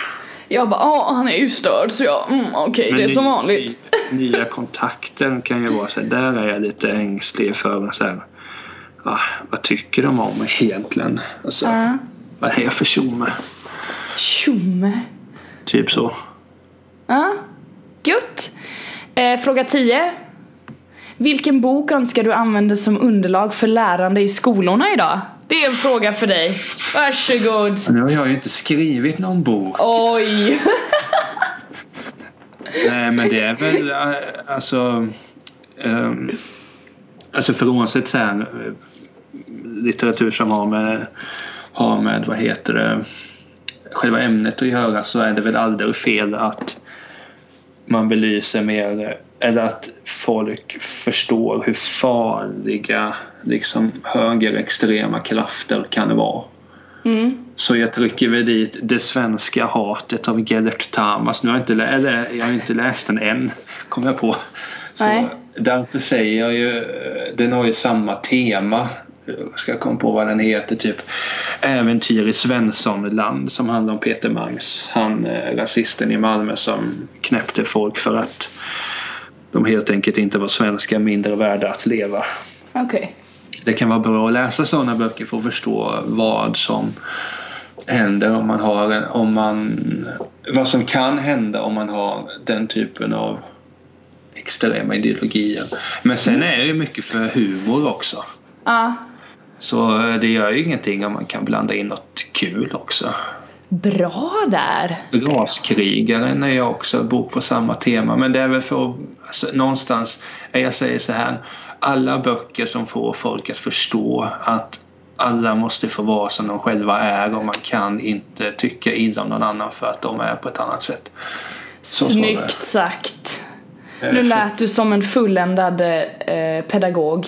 Speaker 2: Jag bara, ja han är ju störd så jag, mm, okej det är
Speaker 1: ny-
Speaker 2: som vanligt.
Speaker 1: ny- Nya kontakten kan ju vara så här, där är jag lite ängslig för så här, ah, vad tycker de om mig egentligen? Alltså,
Speaker 2: Ja.
Speaker 1: Vad är jag för tjomme?
Speaker 2: Tjomme.
Speaker 1: Typ så.
Speaker 2: Ja, gött. Eh, fråga 10. Vilken bok önskar du använda som underlag för lärande i skolorna idag? Det är en fråga för dig. Varsågod.
Speaker 1: Nu har jag ju inte skrivit någon bok.
Speaker 2: Oj. [laughs]
Speaker 1: Nej men det är väl eh, alltså um, Alltså frånsett så här eh, litteratur som har med, har med vad heter det själva ämnet att göra så är det väl aldrig fel att man belyser mer eller att folk förstår hur farliga liksom högerextrema krafter kan vara.
Speaker 2: Mm.
Speaker 1: Så jag trycker väl dit Det svenska hatet av Gellert Tamas. Nu har jag inte, lä- eller, jag har inte läst den än, kom jag på. Så
Speaker 2: Nej.
Speaker 1: Därför säger jag ju, eh, den har ju samma tema. Jag ska komma på vad den heter, typ Äventyr i Svenssonland som handlar om Peter Mangs. Han eh, rasisten i Malmö som knäppte folk för att de helt enkelt inte var svenskar mindre värda att leva
Speaker 2: Okej.
Speaker 1: det kan vara bra att läsa sådana böcker för att förstå vad som händer om man har en, om man, vad som kan hända om man har den typen av extrema ideologier. Men sen är det ju mycket för humor också.
Speaker 2: Ja.
Speaker 1: Så eh, det gör ju ingenting om man kan blanda in något kul också.
Speaker 2: Bra där.
Speaker 1: Raskrigaren är ju också en bok på samma tema men det är väl för att alltså, någonstans, eh, jag säger så här, alla böcker som får folk att förstå att alla måste få vara som de själva är och man kan inte tycka illa om någon annan för att de är på ett annat sätt. Så står det.
Speaker 2: Snyggt sagt.
Speaker 1: Eh,
Speaker 2: Nu
Speaker 1: så-
Speaker 2: lät du som en fulländad eh, pedagog.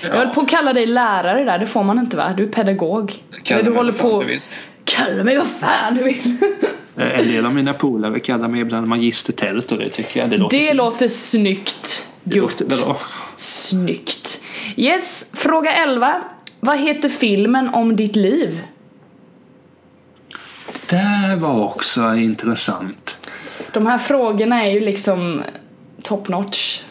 Speaker 2: Jag höll
Speaker 1: ja,
Speaker 2: på att kalla dig lärare där, det får man inte va? Du är pedagog.
Speaker 1: kalla
Speaker 2: du
Speaker 1: mig
Speaker 2: håller
Speaker 1: vad fan
Speaker 2: på...
Speaker 1: du vill.
Speaker 2: Kalla mig vad fan
Speaker 1: [laughs]
Speaker 2: du vill.
Speaker 1: Eh, En del av mina polare kallar mig ibland magistertält och det tycker jag det låter,
Speaker 2: Det låter snyggt
Speaker 1: det låter
Speaker 2: gjort.
Speaker 1: bra.
Speaker 2: Snyggt. Yes, fråga 11. Vad heter filmen om ditt liv?
Speaker 1: Det här var också intressant.
Speaker 2: De här frågorna är ju liksom top notch.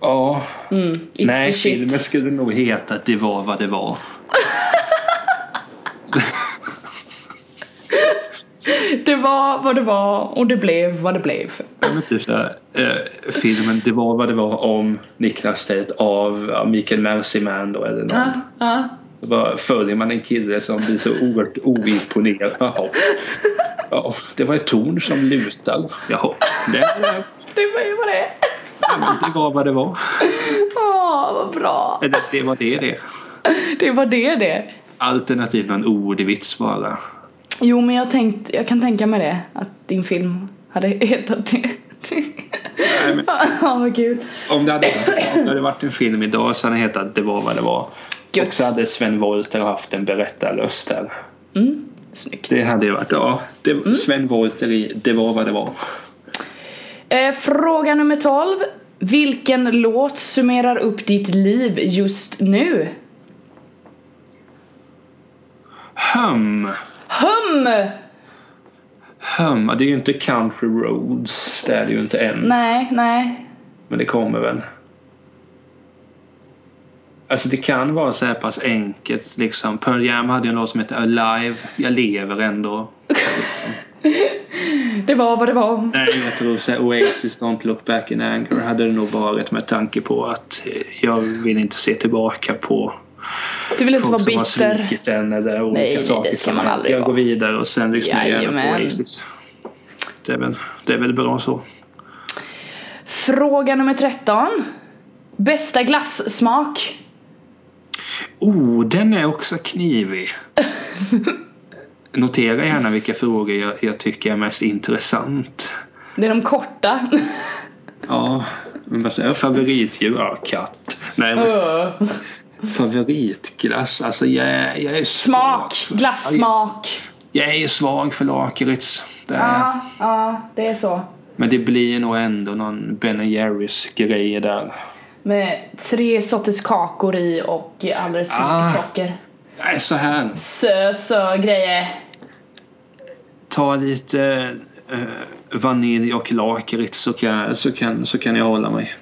Speaker 1: Ja,
Speaker 2: Mm, it's
Speaker 1: Nej,
Speaker 2: the shit.
Speaker 1: filmen skulle nog heta att Det var vad det var.
Speaker 2: [laughs] Det var vad det var och det blev vad det blev.
Speaker 1: Ja, men typ så här, eh, filmen Det var vad det var om Niklas Tate av ja, Mikael Merciman då eller någon.
Speaker 2: Ja, ja.
Speaker 1: Så bara följer man en kille som blir så oerhört oimponerad. Jaha. Ja, det var ett torn som lutar. Jaha. Det,
Speaker 2: Det var ju vad det är. [laughs]
Speaker 1: det var vad det var.
Speaker 2: Åh, vad bra.
Speaker 1: Eller det var det det.
Speaker 2: Det var det det.
Speaker 1: alternativt någon ordvits bara.
Speaker 2: Jo men jag, tänkt, jag kan tänka mig det, att din film hade [laughs] hetat det.
Speaker 1: Nej, men-
Speaker 2: Ja vad kul.
Speaker 1: Om det, hade, om det hade varit en film idag så hade den hetat Det var vad det var.
Speaker 2: Gött.
Speaker 1: Och så hade Sven Wollter haft en berättarlöst där. Mm.
Speaker 2: Mm, snyggt.
Speaker 1: Det hade ju varit, ja. Det, Sven Wollter i Det var vad det var.
Speaker 2: Eh, fråga nummer 12. Vilken låt summerar upp ditt liv just nu?
Speaker 1: Hum.
Speaker 2: Hum!
Speaker 1: Hum. Ja, Det är ju inte Country Roads. Det är det ju inte än.
Speaker 2: Nej, nej.
Speaker 1: Men det kommer väl. Alltså det kan vara så här pass enkelt liksom. Pearl Jam hade ju en låt som heter Alive. Jag lever ändå.
Speaker 2: Det var vad det var.
Speaker 1: Nej, jag tror så här, Oasis Don't Look Back In Anger hade det nog varit med tanke på att eh, jag vill inte se tillbaka på
Speaker 2: Du vill inte
Speaker 1: folk
Speaker 2: vara
Speaker 1: som har
Speaker 2: bitter.
Speaker 1: svikit en eller olika
Speaker 2: Nej, nej, det
Speaker 1: saker.
Speaker 2: ska
Speaker 1: som
Speaker 2: man
Speaker 1: har hänt.
Speaker 2: aldrig
Speaker 1: Jag
Speaker 2: vara.
Speaker 1: går vidare och sen lyssnar jag gärna på
Speaker 2: Jajamän.
Speaker 1: Oasis. Det är, väl, det är väl bra så.
Speaker 2: Fråga nummer 13. Bästa glassmak?
Speaker 1: Oh, den är också
Speaker 2: [laughs]
Speaker 1: knivig. Notera gärna vilka frågor jag, jag tycker är mest intressant.
Speaker 2: Det är
Speaker 1: [laughs]
Speaker 2: de korta.
Speaker 1: Ja, men vad säger jag? Favoritdjur? Ja, katt. Nej, men
Speaker 2: Öh.
Speaker 1: favoritglass? Alltså jag, är- jag är svag.
Speaker 2: Smak. Glassmak.
Speaker 1: Jag är ju svag för lakrits. Det är jag.
Speaker 2: Ja, ja, det är så.
Speaker 1: Men det blir nog ändå någon Ben Jerrys grej där.
Speaker 2: Med tre sorters kakor i och alldeles för mycket
Speaker 1: Ah.
Speaker 2: socker.
Speaker 1: Nej, så här.
Speaker 2: Sö, sö grejer.
Speaker 1: Ta lite eh, vanilj och lakrits så kan, så, kan, så kan jag hålla mig.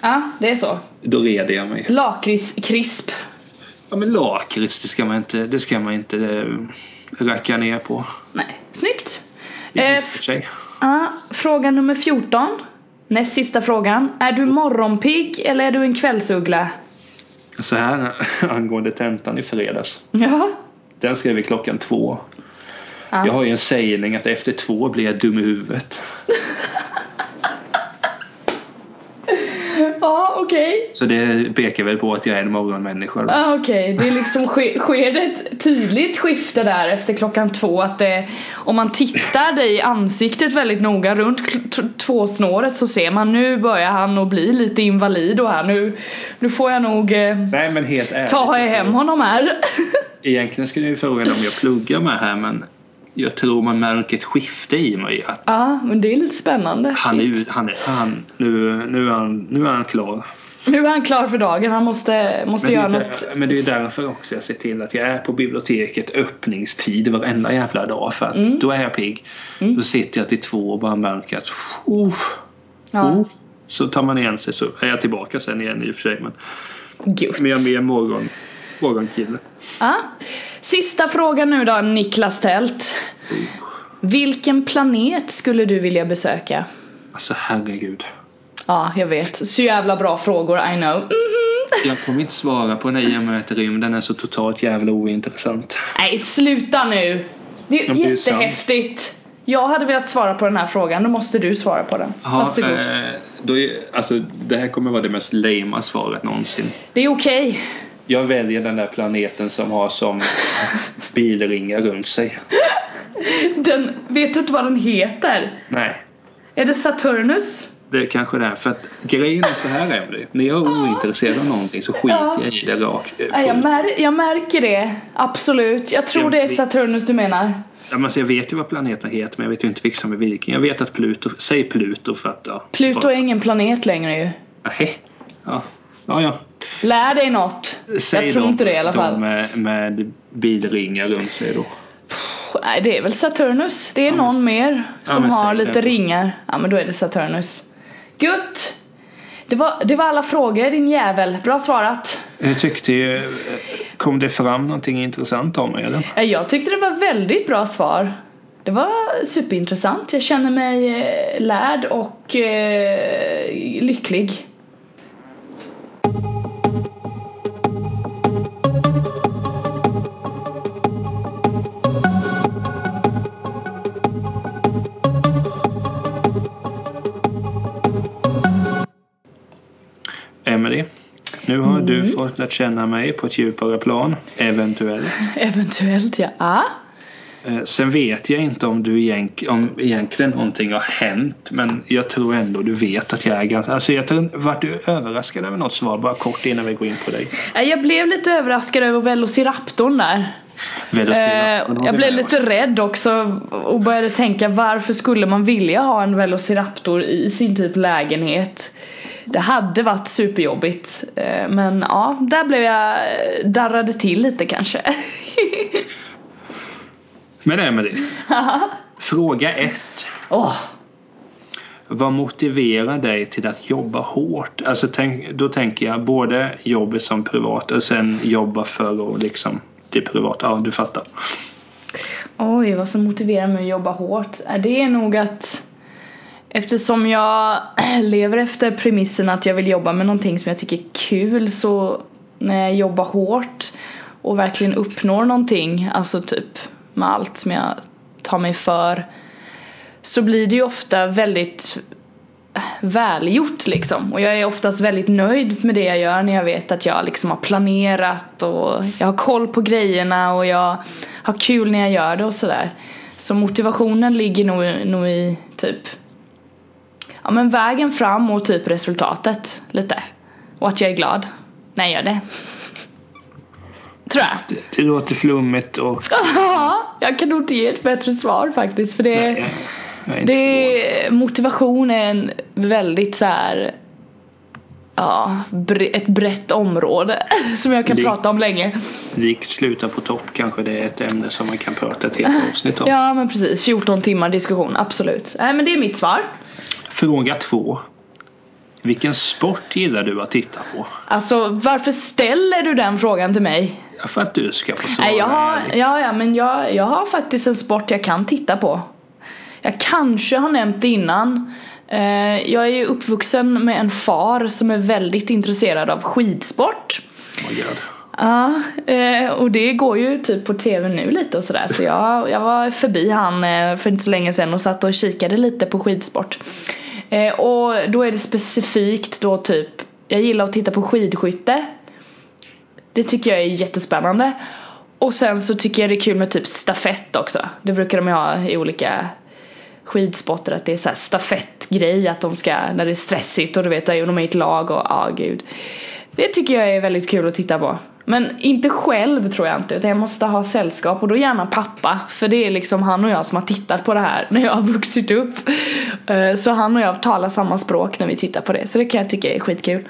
Speaker 2: Ja, det är så.
Speaker 1: Då reder jag mig.
Speaker 2: Lakritskrisp.
Speaker 1: Ja men lakrits, det ska man inte, det ska man inte eh, racka ner på.
Speaker 2: Nej, snyggt.
Speaker 1: Det
Speaker 2: Eh,
Speaker 1: är
Speaker 2: f-
Speaker 1: för sig.
Speaker 2: ja, fråga nummer 14. Näst sista frågan. Är du morgonpigg eller är du en kvällsuggla?
Speaker 1: Så här [laughs] angående tentan i fredags.
Speaker 2: Ja.
Speaker 1: Den skrev vi klockan två.
Speaker 2: Ja.
Speaker 1: Jag har ju en sägning att efter två blir jag dum i huvudet.
Speaker 2: Ja, okej.
Speaker 1: Så det pekar väl på att jag är en morgonmänniska. då.
Speaker 2: Ah, Okej, det är liksom ske, sker det ett tydligt skifte där efter klockan två att det, om man tittar dig i ansiktet väldigt noga runt kl- t- tvåsnåret så ser man nu börjar han att bli lite invalid och här nu, nu får jag nog eh,
Speaker 1: Nej men helt ärligt.
Speaker 2: ta hem honom här. [laughs]
Speaker 1: Egentligen skulle jag ju fråga dig om jag pluggar med här men jag tror man märker ett skifte i mig. Att
Speaker 2: Ja, men det är lite spännande.
Speaker 1: han är,
Speaker 2: Shit.
Speaker 1: ut- han är, han, nu, nu, är han, nu är han klar.
Speaker 2: Nu är han klar för dagen, han måste, måste
Speaker 1: Men det,
Speaker 2: göra
Speaker 1: är ju
Speaker 2: något.
Speaker 1: där, men det är ju därför också jag ser till att jag är på biblioteket öppningstid varenda jävla dag. För att
Speaker 2: Mm.
Speaker 1: då är jag pigg. Då sitter jag till två och bara märker att uff,
Speaker 2: Ja.
Speaker 1: uff. Så tar man igen sig så är jag tillbaka sen igen i och för sig. Men,
Speaker 2: Gött.
Speaker 1: men jag är mer morgon, morgonkille.
Speaker 2: Ja. Sista frågan nu då, Niklas Tält. Vilken planet skulle du vilja besöka?
Speaker 1: Alltså herregud.
Speaker 2: Ja, jag vet. Så jävla bra frågor, I know. Mhm.
Speaker 1: Jag kommer inte svara på den i och med att rymden är så totalt jävla ointressant.
Speaker 2: Nej, sluta nu! Det är
Speaker 1: Men
Speaker 2: ju
Speaker 1: det är ju
Speaker 2: jättehäftigt. Jag hade velat svara på den här frågan, då måste du svara på den.
Speaker 1: Ja,
Speaker 2: Varsågod.
Speaker 1: eh, då är, alltså, det här kommer vara det mest lame svaret någonsin.
Speaker 2: Det är okej.
Speaker 1: Jag väljer den där planeten som har som bilringar runt sig.
Speaker 2: Den, vet du inte vad den heter?
Speaker 1: Nej,
Speaker 2: Är det Saturnus?
Speaker 1: det är kanske det. För att grejen är så här Emelie. När jag är ointresserad av någonting så skiter
Speaker 2: Ja.
Speaker 1: jag i det rakt.
Speaker 2: Nej, jag, mär, jag märker det. Absolut. Jag tror
Speaker 1: Jag
Speaker 2: det är
Speaker 1: vet.
Speaker 2: Saturnus du menar.
Speaker 1: Ja, men alltså, jag vet ju vad planeten heter men jag vet ju inte vilken som är vilken. Jag vet att Pluto, säg Pluto för att ja.
Speaker 2: Pluto är ingen planet längre ju.
Speaker 1: Nej. Ja. ja, ja.
Speaker 2: Lär dig något.
Speaker 1: Säg
Speaker 2: jag tror
Speaker 1: de,
Speaker 2: inte det i alla fall.
Speaker 1: De med, med bilringar runt sig då.
Speaker 2: Nej, det är väl Saturnus. Det är någon mer som
Speaker 1: men
Speaker 2: har
Speaker 1: säg det.
Speaker 2: lite ringar. Ja, men då är det Saturnus. Gött! Det var, det var alla frågor din jävel. Bra svarat.
Speaker 1: Jag tyckte ju, eh, kom det fram någonting intressant om mig eller?
Speaker 2: Eh, Jag tyckte det var väldigt bra svar. Det var superintressant. Jag känner mig eh, lärd och eh, lycklig. [laughs]
Speaker 1: Emelie, Nu har du
Speaker 2: Mm.
Speaker 1: fått lärt känna mig på ett djupare plan, eventuellt.
Speaker 2: Eventuellt ja. Ah.
Speaker 1: Eh, Sen vet jag inte om, du egent, om egentligen någonting har hänt men jag tror ändå du vet att jag är ganska... Alltså jag tror, vart du överraskad över något svar bara kort innan vi går in på dig?
Speaker 2: Nej, Jag blev lite överraskad över Velociraptorn där. Eh,
Speaker 1: Velociraptorn har
Speaker 2: jag
Speaker 1: vi
Speaker 2: blev
Speaker 1: med
Speaker 2: lite
Speaker 1: oss.
Speaker 2: rädd också och började tänka varför skulle man vilja ha en Velociraptor i sin typ lägenhet? Det hade varit superjobbigt. Eh, Men ja, där blev jag eh, darrade till lite kanske. [laughs]
Speaker 1: Men
Speaker 2: [laughs]
Speaker 1: Emelie. Fråga 1.
Speaker 2: Åh,
Speaker 1: Vad motiverar dig till att jobba hårt? Alltså tänk, då tänker jag både jobbet som privat och sen jobba för att liksom det privata. Ja, du fattar.
Speaker 2: Oj, vad som motiverar mig att jobba hårt? Eh, Det är nog att eftersom jag [clears throat] lever efter premissen att jag vill jobba med någonting som jag tycker är kul så när jag jobbar hårt och verkligen uppnår någonting, alltså typ med allt som jag tar mig för så blir det ju ofta väldigt eh, välgjort liksom och jag är oftast väldigt nöjd med det jag gör när jag vet att jag liksom har planerat och jag har koll på grejerna och jag har kul när jag gör det och sådär. Så motivationen ligger nog, nog i typ ja men vägen fram och typ resultatet lite och att jag är glad när jag gör det. [laughs] Tror jag. [laughs]
Speaker 1: Det, det låter flummigt och...
Speaker 2: Ja, jag kan nog inte ge ett bättre svar faktiskt för det
Speaker 1: Nej, jag är inte
Speaker 2: det, motivation är en väldigt så här Ja, bre, ett brett område [laughs] som jag kan
Speaker 1: Det-
Speaker 2: prata om länge.
Speaker 1: Likt sluta på topp kanske det är ett ämne som man kan prata ett helt avsnitt om.
Speaker 2: Eh, Ja men precis, 14 timmar diskussion, absolut. Nej men det är mitt svar.
Speaker 1: Fråga två. Vilken sport gillar du att titta på?
Speaker 2: Alltså varför ställer du den frågan till mig?
Speaker 1: Ja, För att du ska få svara.
Speaker 2: Nej jag har,
Speaker 1: ärligt.
Speaker 2: ja, ja men jag, jag har faktiskt en sport jag kan titta på. Jag kanske har nämnt det innan. Eh, jag är ju uppvuxen med en far som är väldigt intresserad av skidsport.
Speaker 1: Oh my God.
Speaker 2: Ja, eh, och det går ju typ på tv nu lite och sådär så jag, jag var förbi han eh, för inte så länge sedan och satt och kikade lite på skidsport. Eh, och då är det specifikt då typ, jag gillar att titta på skidskytte. Det tycker jag är jättespännande. Och sen så tycker jag det är kul med typ stafett också. Det brukar de ju ha i olika skidsporter att det är så här stafettgrej att de ska, när det är stressigt och du vet, de är i ett lag och ja gud. Det tycker jag är väldigt kul att titta på. Men inte själv tror jag inte utan jag måste ha sällskap och då gärna pappa för det är liksom han och jag som har tittat på det här när jag har vuxit upp. Eh, Så han och jag talar samma språk när vi tittar på det så det kan jag tycka är skitkul.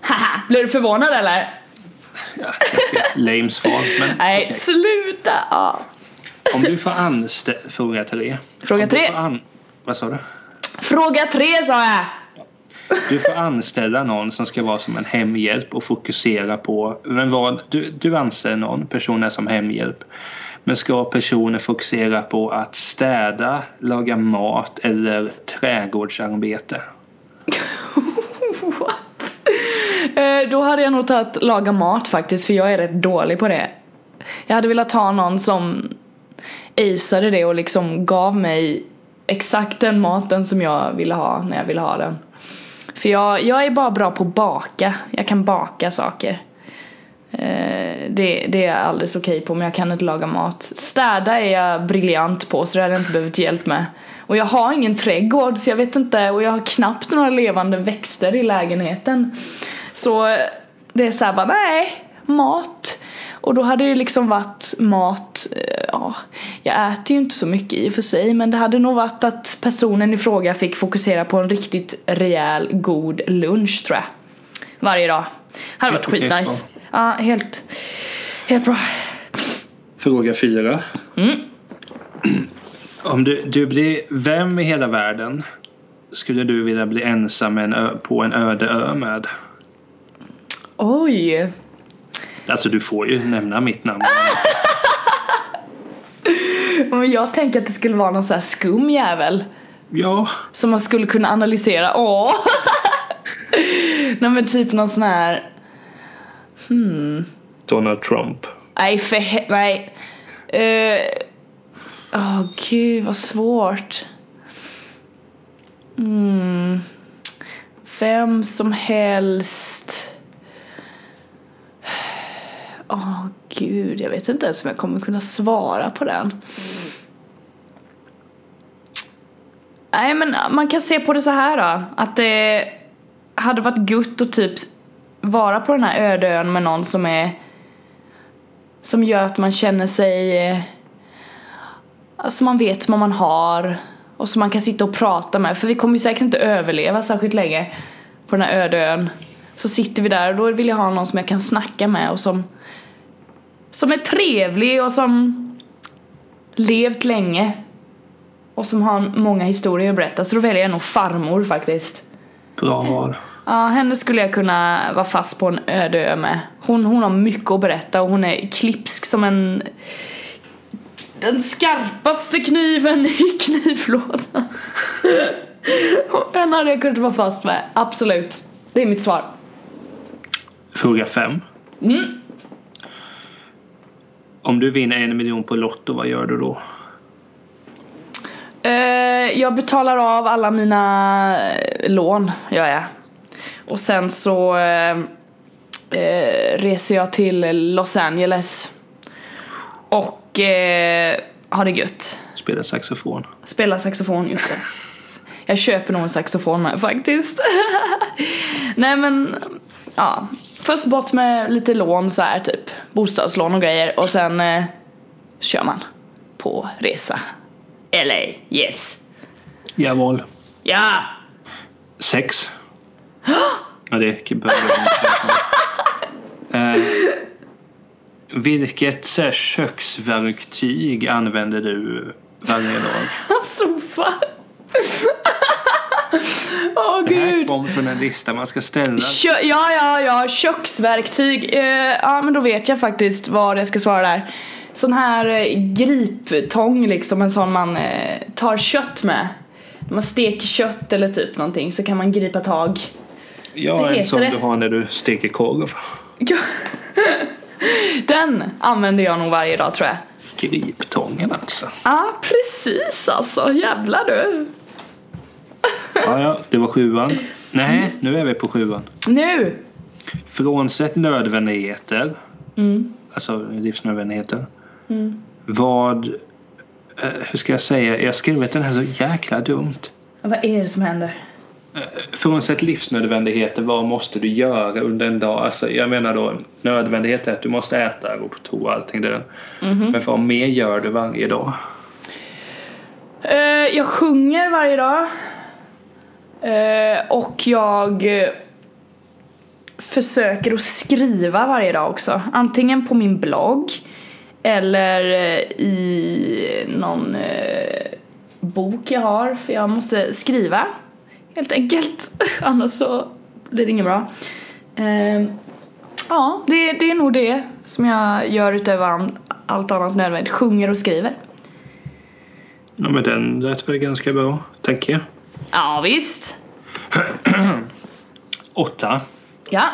Speaker 2: Haha, blir du förvånad eller?
Speaker 1: Ja, ganska lame svar. Men
Speaker 2: Nej,
Speaker 1: okej.
Speaker 2: sluta! Ja.
Speaker 1: Om du får anställa... Fråga tre.
Speaker 2: Fråga
Speaker 1: Om du
Speaker 2: tre.
Speaker 1: får An... Vad sa du?
Speaker 2: Fråga tre sa jag!
Speaker 1: Du får anställa någon som ska vara som en hemhjälp och fokusera på... Men vad, du, du anställer någon, personen är som hemhjälp. Men ska personen fokusera på att städa, laga mat eller trädgårdsarbete?
Speaker 2: [laughs] What? Eh, Då hade jag nog tagit laga mat faktiskt för jag är rätt dålig på det. Jag hade velat ha någon som aceade det och liksom gav mig exakt den maten som jag ville ha när jag ville ha den. För jag, jag är bara bra på att baka. Jag kan baka saker. Eh, Det, det är jag alldeles okej på men jag kan inte laga mat. Städa är jag briljant på så det hade jag inte behövt hjälp med. Och jag har ingen trädgård så jag vet inte och jag har knappt några levande växter i lägenheten. Så eh, det är såhär bara nej, mat. Och då hade det liksom varit mat, eh, ja, jag äter ju inte så mycket i och för sig men det hade nog varit att personen i fråga fick fokusera på en riktigt rejäl god lunch tror jag. Varje dag. Hade varit
Speaker 1: Helt okej svar.
Speaker 2: skitnice. Ja, helt, helt bra.
Speaker 1: Fråga fyra.
Speaker 2: Mm.
Speaker 1: [clears throat] Om du, du blir vem i hela världen skulle du vilja bli ensam med en ö, på en öde ö med?
Speaker 2: Oj. [laughs]
Speaker 1: Alltså du får ju nämna mitt namn.
Speaker 2: Men jag tänker att det skulle vara någon sån här skum jävel.
Speaker 1: Ja,
Speaker 2: Som man skulle kunna analysera. Åh! [laughs] Nej men typ någon sån här...
Speaker 1: Donald Trump.
Speaker 2: Nej för he- Nej. Eh, Åh gud vad svårt. Mm. vem som helst. Åh gud, jag vet inte ens om jag kommer kunna svara på den. Nej men man kan se på det så här då. Att det hade varit gutt att typ vara på den här öde ön med någon som är som gör att man känner sig eh, alltså man vet vad man har och som man kan sitta och prata med för vi kommer ju säkert inte överleva särskilt länge på den här öde ön. Så sitter vi där och då vill jag ha någon som jag kan snacka med och som som är trevlig och som levt länge och som har många historier att berätta så då väljer jag nog farmor faktiskt.
Speaker 1: Bra val.
Speaker 2: Ja, henne skulle jag kunna vara fast på en öde ö med. Hon, hon har mycket att berätta och hon är klipsk som en... Den skarpaste kniven i [laughs] knivlådan. Och Henne hade jag kunnat vara fast med, absolut. Det är mitt svar.
Speaker 1: Fråga fem.
Speaker 2: Mm.
Speaker 1: Om du vinner en miljon på Lotto, vad gör du då?
Speaker 2: Eh, jag betalar av alla mina eh, lån, gör jag. Och sen så eh, eh, reser jag till Los Angeles. Och eh, har det gött.
Speaker 1: Spela saxofon.
Speaker 2: Spelar saxofon, just det. Jag köper nog en saxofon med faktiskt. [laughs] Nej men, ja. Först bort med lite lån så här typ. Bostadslån och grejer och sen eh, kör man på resa. LA, yes.
Speaker 1: Jawohl.
Speaker 2: Ja! [laughs] [gasps]
Speaker 1: Sex. ja, det behöver
Speaker 2: [laughs]
Speaker 1: jag inte. eh, Vilket så här, köksverktyg använder du varje dag?
Speaker 2: Sofa! [laughs] Åh
Speaker 1: Det här
Speaker 2: gud!
Speaker 1: kom från en lista man ska ställa.
Speaker 2: Kö- ja, ja, ja, köksverktyg. Eh, ja, men då vet jag faktiskt vad jag ska svara där. Sån här eh, griptång liksom, en sån man eh, tar kött med. När man steker kött eller typ någonting så kan man gripa tag. [laughs]
Speaker 1: Ja,
Speaker 2: vad
Speaker 1: en
Speaker 2: heter
Speaker 1: som
Speaker 2: det?
Speaker 1: du har när du steker korv.
Speaker 2: Ja. Den använder jag nog varje dag tror jag.
Speaker 1: Griptången alltså.
Speaker 2: Ja, ah, precis alltså. Jävlar du.
Speaker 1: Ja, ja, det var sjuan. Nej, nu är vi på sjuan.
Speaker 2: Nu!
Speaker 1: Frånsett nödvändigheter,
Speaker 2: Mm.
Speaker 1: alltså livsnödvändigheter. Vad, eh, hur ska jag säga, jag har skrivit den här så jäkla dumt.
Speaker 2: Vad är det som händer?
Speaker 1: Frånsett livsnödvändigheter, vad måste du göra under en dag? Alltså, jag menar då nödvändighet är att du måste äta, gå på toa, allting det där. Men vad mer gör du varje dag?
Speaker 2: Eh, jag sjunger varje dag. Eh, och jag eh, försöker att skriva varje dag också. Antingen på min blogg eller eh, i någon eh, bok jag har. För jag måste skriva helt enkelt. [laughs] Annars så blir det inget bra. Eh, ja, det, det är nog det som jag gör utöver an- allt annat nödvändigt. Sjunger och skriver.
Speaker 1: Ja, men den lät väl ganska bra, tänker jag.
Speaker 2: Ja, visst.
Speaker 1: Åtta.
Speaker 2: Ja.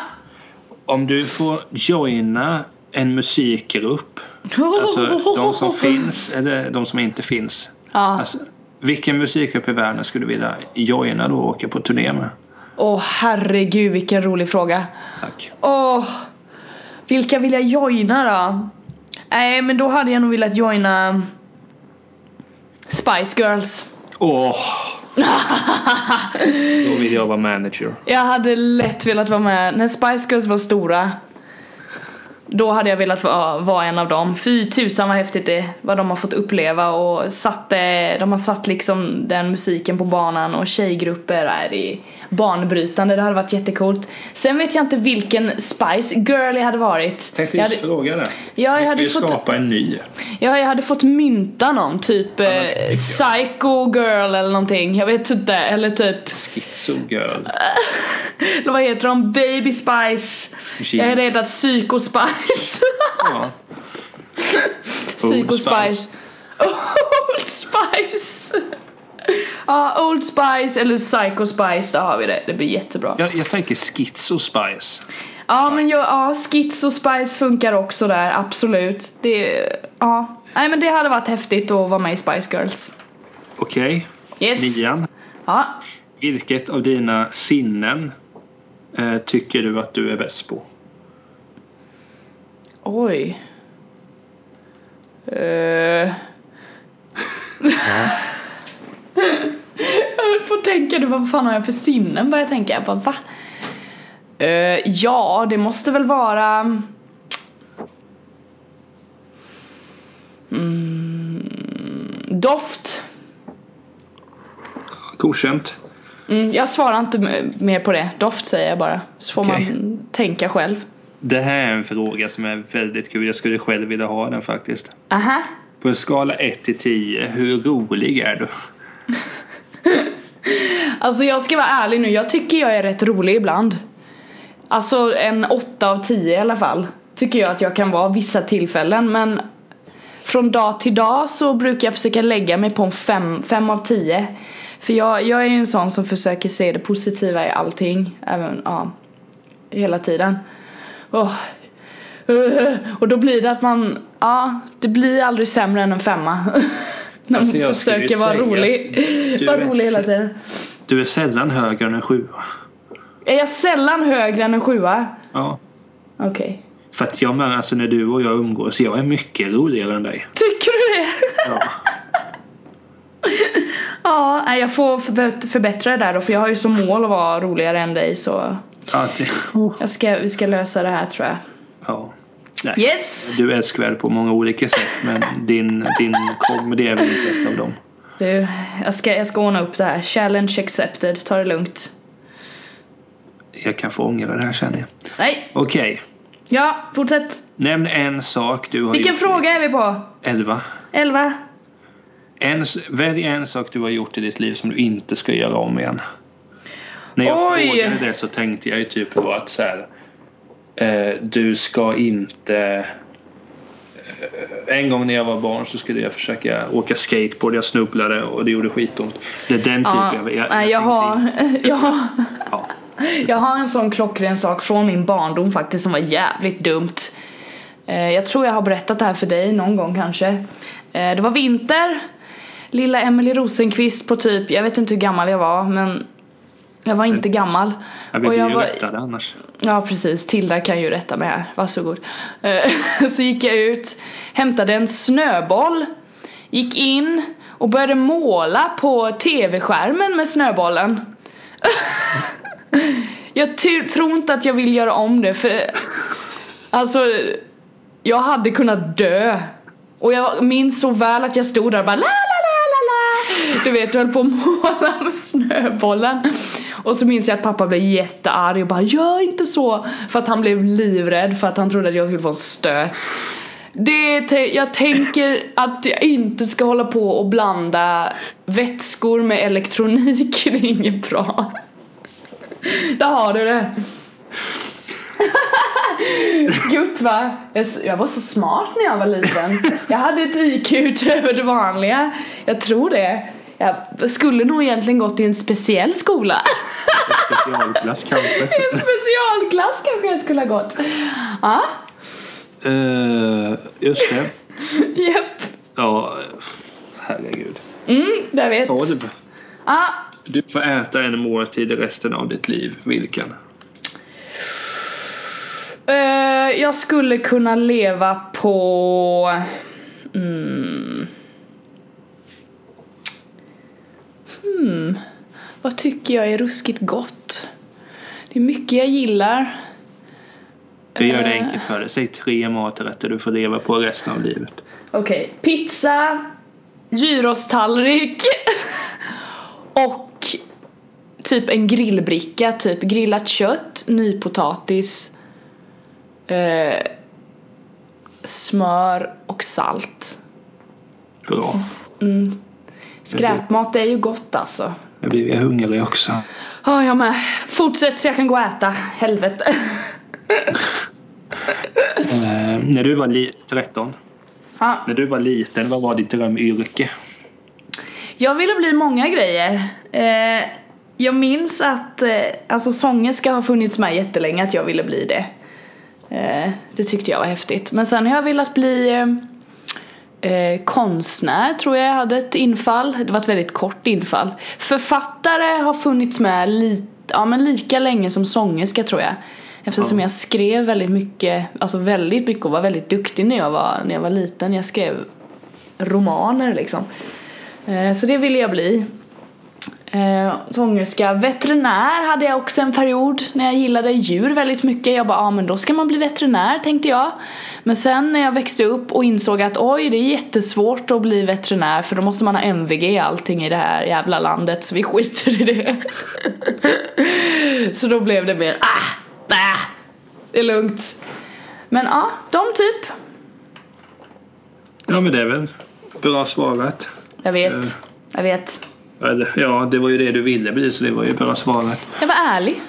Speaker 1: Om du får joina en musikgrupp, alltså de
Speaker 2: [laughs]
Speaker 1: som finns eller de som inte finns.
Speaker 2: Ja.
Speaker 1: Alltså, vilken musikgrupp i världen skulle du vilja joina då och åka på turné med?
Speaker 2: Åh herregud vilken rolig fråga.
Speaker 1: Tack.
Speaker 2: Åh. vilka vill jag joina då? Nej men då hade jag nog velat joina Spice Girls.
Speaker 1: Åh! då vill jag vara manager.
Speaker 2: Jag hade lätt velat vara med. När Spice Girls var stora. Då hade jag velat vara, vara en av dem. Fy tusan vad häftigt det är, Vad de har fått uppleva och satte, de har satt liksom den musiken på banan och tjejgrupper. Nej, det är banbrytande. Det hade varit jättecoolt. Sen vet jag inte vilken Spice Girl jag hade varit.
Speaker 1: Tänkte
Speaker 2: jag
Speaker 1: just
Speaker 2: hade,
Speaker 1: fråga det.
Speaker 2: ja, jag
Speaker 1: Vi
Speaker 2: hade
Speaker 1: hade
Speaker 2: fått,
Speaker 1: skapa en ny.
Speaker 2: ja, jag hade fått mynta någon. Typ
Speaker 1: men det tycker
Speaker 2: eh,
Speaker 1: jag.
Speaker 2: Psycho Girl eller någonting. Jag vet inte. Eller typ
Speaker 1: Schizo girl.
Speaker 2: Eller vad heter de? Baby Spice.
Speaker 1: Gin.
Speaker 2: Jag hade hetat Psycho [laughs] Spice.
Speaker 1: Ja.
Speaker 2: Psycho
Speaker 1: Old
Speaker 2: Spice. Old Spice. Ja, Old Spice eller Psycho Spice, där har vi det. Det blir jättebra. Ja,
Speaker 1: Jag, jag tänker schizo spice.
Speaker 2: men jag, ja, Schizo Spice funkar också där, absolut. Det, ja. Nej men det hade varit häftigt att vara med i Spice Girls.
Speaker 1: Okej,
Speaker 2: Yes.
Speaker 1: nian.
Speaker 2: Ja.
Speaker 1: Vilket av dina sinnen eh, tycker du att du är bäst på?
Speaker 2: Oj. Eh. [laughs] jag får tänka nu, vad fan har jag för sinnen? Börjar jag tänka, jag bara va? Eh, ja, det måste väl vara... Mm, doft.
Speaker 1: Godkänt.
Speaker 2: Mm, jag svarar inte m- mer på det. Doft säger jag bara. Så får
Speaker 1: Okej.
Speaker 2: man tänka själv.
Speaker 1: Det här är en fråga som är väldigt kul. Jag skulle själv vilja ha den faktiskt.
Speaker 2: Aha.
Speaker 1: På en skala 1 till 10, hur rolig är du?
Speaker 2: Alltså jag ska vara ärlig nu, jag tycker jag är rätt rolig ibland. Alltså en 8 av 10 i alla fall. Tycker jag att jag kan vara vissa tillfällen men från dag till dag så brukar jag försöka lägga mig på en 5, fem av 10. För jag, jag är ju en sån som försöker se det positiva i allting. Även, ja, hela tiden. Åh. [laughs] Eh, Och då blir det att man, ja, det blir aldrig sämre än en femma. [laughs] När man
Speaker 1: Alltså, jag skulle
Speaker 2: försöker vara
Speaker 1: säga
Speaker 2: rolig.
Speaker 1: att du
Speaker 2: Vara
Speaker 1: är
Speaker 2: rolig hela
Speaker 1: så-
Speaker 2: tiden.
Speaker 1: Du är sällan högre än en 7.
Speaker 2: Är jag sällan högre än en sjua?
Speaker 1: Ja.
Speaker 2: Okej.
Speaker 1: För att jag menar, alltså när du och jag umgås, jag är mycket roligare än dig.
Speaker 2: Tycker du det?
Speaker 1: Ja.
Speaker 2: [laughs] ja, nej, jag får förbe- förbättra det där då för jag har ju som mål att vara roligare än dig så
Speaker 1: Ja. Det,
Speaker 2: jag ska, vi ska lösa det här tror jag.
Speaker 1: ja. Nej.
Speaker 2: Yes!
Speaker 1: Du är älskvärd på många olika sätt men din, din comedy är väl inte ett av dem.
Speaker 2: Du, jag ska, jag ska ordna upp det här. Challenge accepted, ta det lugnt.
Speaker 1: Jag kan få ångra det här känner jag.
Speaker 2: Nej,
Speaker 1: Okej,
Speaker 2: ja, fortsätt.
Speaker 1: nämn en sak du har
Speaker 2: Vilken
Speaker 1: gjort.
Speaker 2: fråga är vi på?
Speaker 1: Elva.
Speaker 2: Elva?
Speaker 1: En, s- välj en sak du har gjort i ditt liv som du inte ska göra om igen. När jag
Speaker 2: Oj!
Speaker 1: frågade det så tänkte jag ju typ på att så här, eh, du ska inte... Eh, en gång när jag var barn så skulle jag försöka åka skateboard. Jag snubblade och det gjorde skitont. Det är den typen
Speaker 2: Ja,
Speaker 1: av...
Speaker 2: nej, typ, jag, har, [laughs] jag, har,
Speaker 1: Ja.
Speaker 2: jag har en sån klockren sak från min barndom faktiskt som var jävligt dumt. Eh, Jag tror jag har berättat det här för dig någon gång kanske. Eh, Det var vinter. Lilla Emily Rosenqvist på typ, jag vet inte hur gammal jag var men jag var inte gammal.
Speaker 1: Ja, vi
Speaker 2: Och
Speaker 1: blir
Speaker 2: jag
Speaker 1: ju
Speaker 2: var,
Speaker 1: rättade annars.
Speaker 2: Ja precis, Tilda kan ju rätta mig här, varsågod. Eh, [laughs] Så gick jag ut, hämtade en snöboll, gick in och började måla på tv-skärmen med snöbollen. [laughs] Jag ty- tror inte att jag vill göra om det för alltså jag hade kunnat dö. Och jag minns så väl att jag stod där och bara la la la la la Du vet, jag höll på att måla med snöbollen. Och så minns jag att pappa blev jättearg och bara gör inte så! För att han blev livrädd för att han trodde att jag skulle få en stöt. Det är te- jag tänker att jag inte ska hålla på och blanda vätskor med elektronik, [laughs] det är inget bra. Där har du det. Gud va? Jag s- Jag var så smart när jag var liten. Jag hade ett IQ [laughs] utöver det vanliga. Jag tror det. Jag skulle nog egentligen gått i en speciell skola. [laughs]
Speaker 1: Specialklass kanske.
Speaker 2: I en specialklass kanske jag skulle ha gått. Ja,
Speaker 1: Eh, just det.
Speaker 2: japp.
Speaker 1: Ja, herregud.
Speaker 2: Mm, jag vet.
Speaker 1: Ja, du,
Speaker 2: Ja,
Speaker 1: du får äta en måltid i resten av ditt liv. Vilken?
Speaker 2: eh, jag skulle kunna leva på... Mm. Hmm. Vad tycker jag är ruskigt gott? Det är mycket jag gillar.
Speaker 1: Vi gör det
Speaker 2: Eh.
Speaker 1: enkelt för dig. Säg tre maträtter du får leva på resten av livet.
Speaker 2: Okej, pizza, gyrostallrik [laughs] och typ en grillbricka, typ grillat kött, nypotatis, eh, smör och salt.
Speaker 1: Bra.
Speaker 2: Mm. Skräpmat är ju gott alltså.
Speaker 1: Nu blir jag hungrig också.
Speaker 2: Ja, jag med. Fortsätt så jag kan gå och äta. Helvete. [laughs]
Speaker 1: Eh, när du var li- 13,
Speaker 2: Ja.
Speaker 1: när du var liten, vad var ditt drömyrke?
Speaker 2: Jag ville bli många grejer. Eh, jag minns att eh, alltså sångerska har funnits med jättelänge att jag ville bli det. Eh, det tyckte jag var häftigt. Men sen har jag velat bli eh, Eh, konstnär tror jag jag hade ett infall. Det var ett väldigt kort infall. Författare har funnits med li- ja, men lika länge som sångerska tror jag. Eftersom
Speaker 1: Ja.
Speaker 2: jag skrev väldigt mycket, alltså väldigt mycket och var väldigt duktig när jag var, när jag var liten. Jag skrev romaner liksom. Eh, så det ville jag bli. Eh, sångerska, veterinär hade jag också en period när jag gillade djur väldigt mycket. Jag bara, ja ah, men då ska man bli veterinär tänkte jag. Men sen när jag växte upp och insåg att oj det är jättesvårt att bli veterinär för då måste man ha MVG i allting i det här jävla landet så vi skiter i det. [laughs] så då blev det mer, ah, nej, det är lugnt. Men ja, de typ.
Speaker 1: Ja, men det är väl bra svarat.
Speaker 2: Jag vet,
Speaker 1: Eh.
Speaker 2: jag vet.
Speaker 1: Eller, Ja, det var ju det du ville bli, så det var ju bra svarat.
Speaker 2: Jag var ärlig.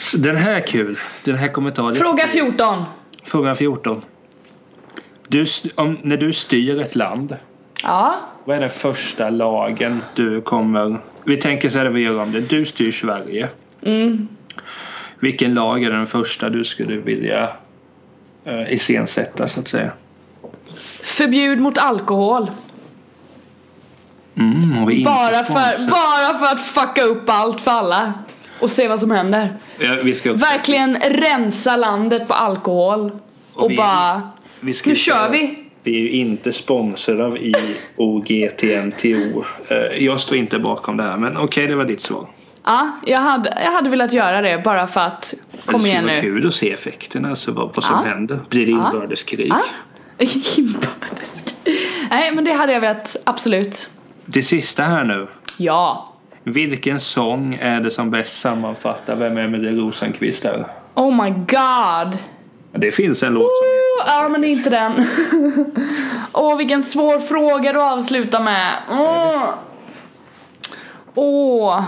Speaker 1: Så Den här är kul. Den här kommentaren.
Speaker 2: Fråga 14.
Speaker 1: Fråga 14. Du, st- om, när du styr ett land,
Speaker 2: Ja,
Speaker 1: vad är den första lagen du kommer... Vi tänker så här, vi gör om det. Du styr Sverige.
Speaker 2: mm.
Speaker 1: Vilken lag är den första du skulle vilja eh, iscensätta, så att säga?
Speaker 2: Förbjud mot alkohol.
Speaker 1: Mm, och vi är inte
Speaker 2: Bara för,
Speaker 1: sponsrade.
Speaker 2: bara för att fucka upp allt för alla. Och se vad som händer.
Speaker 1: Ja, vi ska också,
Speaker 2: Verkligen rensa landet på alkohol. Och,
Speaker 1: Och vi-
Speaker 2: bara,
Speaker 1: vi ska
Speaker 2: nu
Speaker 1: ju säga-
Speaker 2: kör vi.
Speaker 1: Vi är ju inte sponsrade av IOGTNTO. Eh, Jag står inte bakom det här, men okej, det var ditt svar.
Speaker 2: Ja, jag hade, jag hade velat göra det bara för att, kom
Speaker 1: det
Speaker 2: igen
Speaker 1: vara
Speaker 2: nu. Ah.
Speaker 1: kul att se effekterna, alltså vad, vad som
Speaker 2: Ja.
Speaker 1: händer. Blir det
Speaker 2: Ja.
Speaker 1: inbördeskrig?
Speaker 2: Ja. [laughs] Inbördes- Nej men det hade jag velat, absolut.
Speaker 1: Det sista här nu.
Speaker 2: Ja.
Speaker 1: Vilken sång är det som bäst sammanfattar vem Emelie Rosenqvist är?
Speaker 2: Oh my god.
Speaker 1: Det finns en låt som heter
Speaker 2: Oh, Ja men det är inte den. [laughs] Åh vilken svår fråga du avslutar med. Åh, Åh,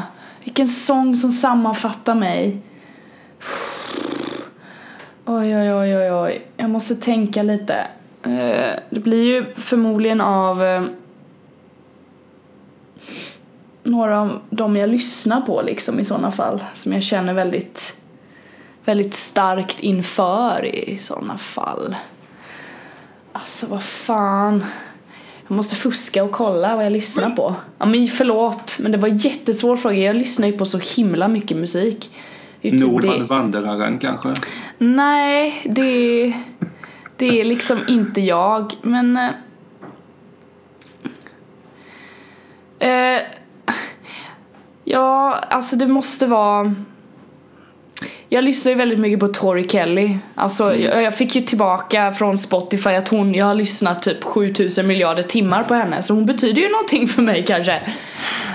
Speaker 2: vilken sång som sammanfattar mig. Oj oj oj oj oj. Jag måste tänka lite. Eh, Det blir ju förmodligen av eh, några av dem jag lyssnar på liksom i sådana fall. Som jag känner väldigt väldigt starkt inför i sådana fall. Alltså vad fan. Jag måste fuska och kolla vad jag lyssnar på. Ja men förlåt, men det var en jättesvår fråga. Jag lyssnar ju på så himla mycket musik. Det är ju typ
Speaker 1: Norman
Speaker 2: det-
Speaker 1: Vandraren kanske?
Speaker 2: Nej, det, det är liksom inte jag. Men... eh, Eh, ja, alltså det måste vara... Jag lyssnar ju väldigt mycket på Tori Kelly. Alltså, jag, jag fick ju tillbaka från Spotify att hon, jag har lyssnat typ 7000 miljarder timmar på henne. Så hon betyder ju någonting för mig kanske.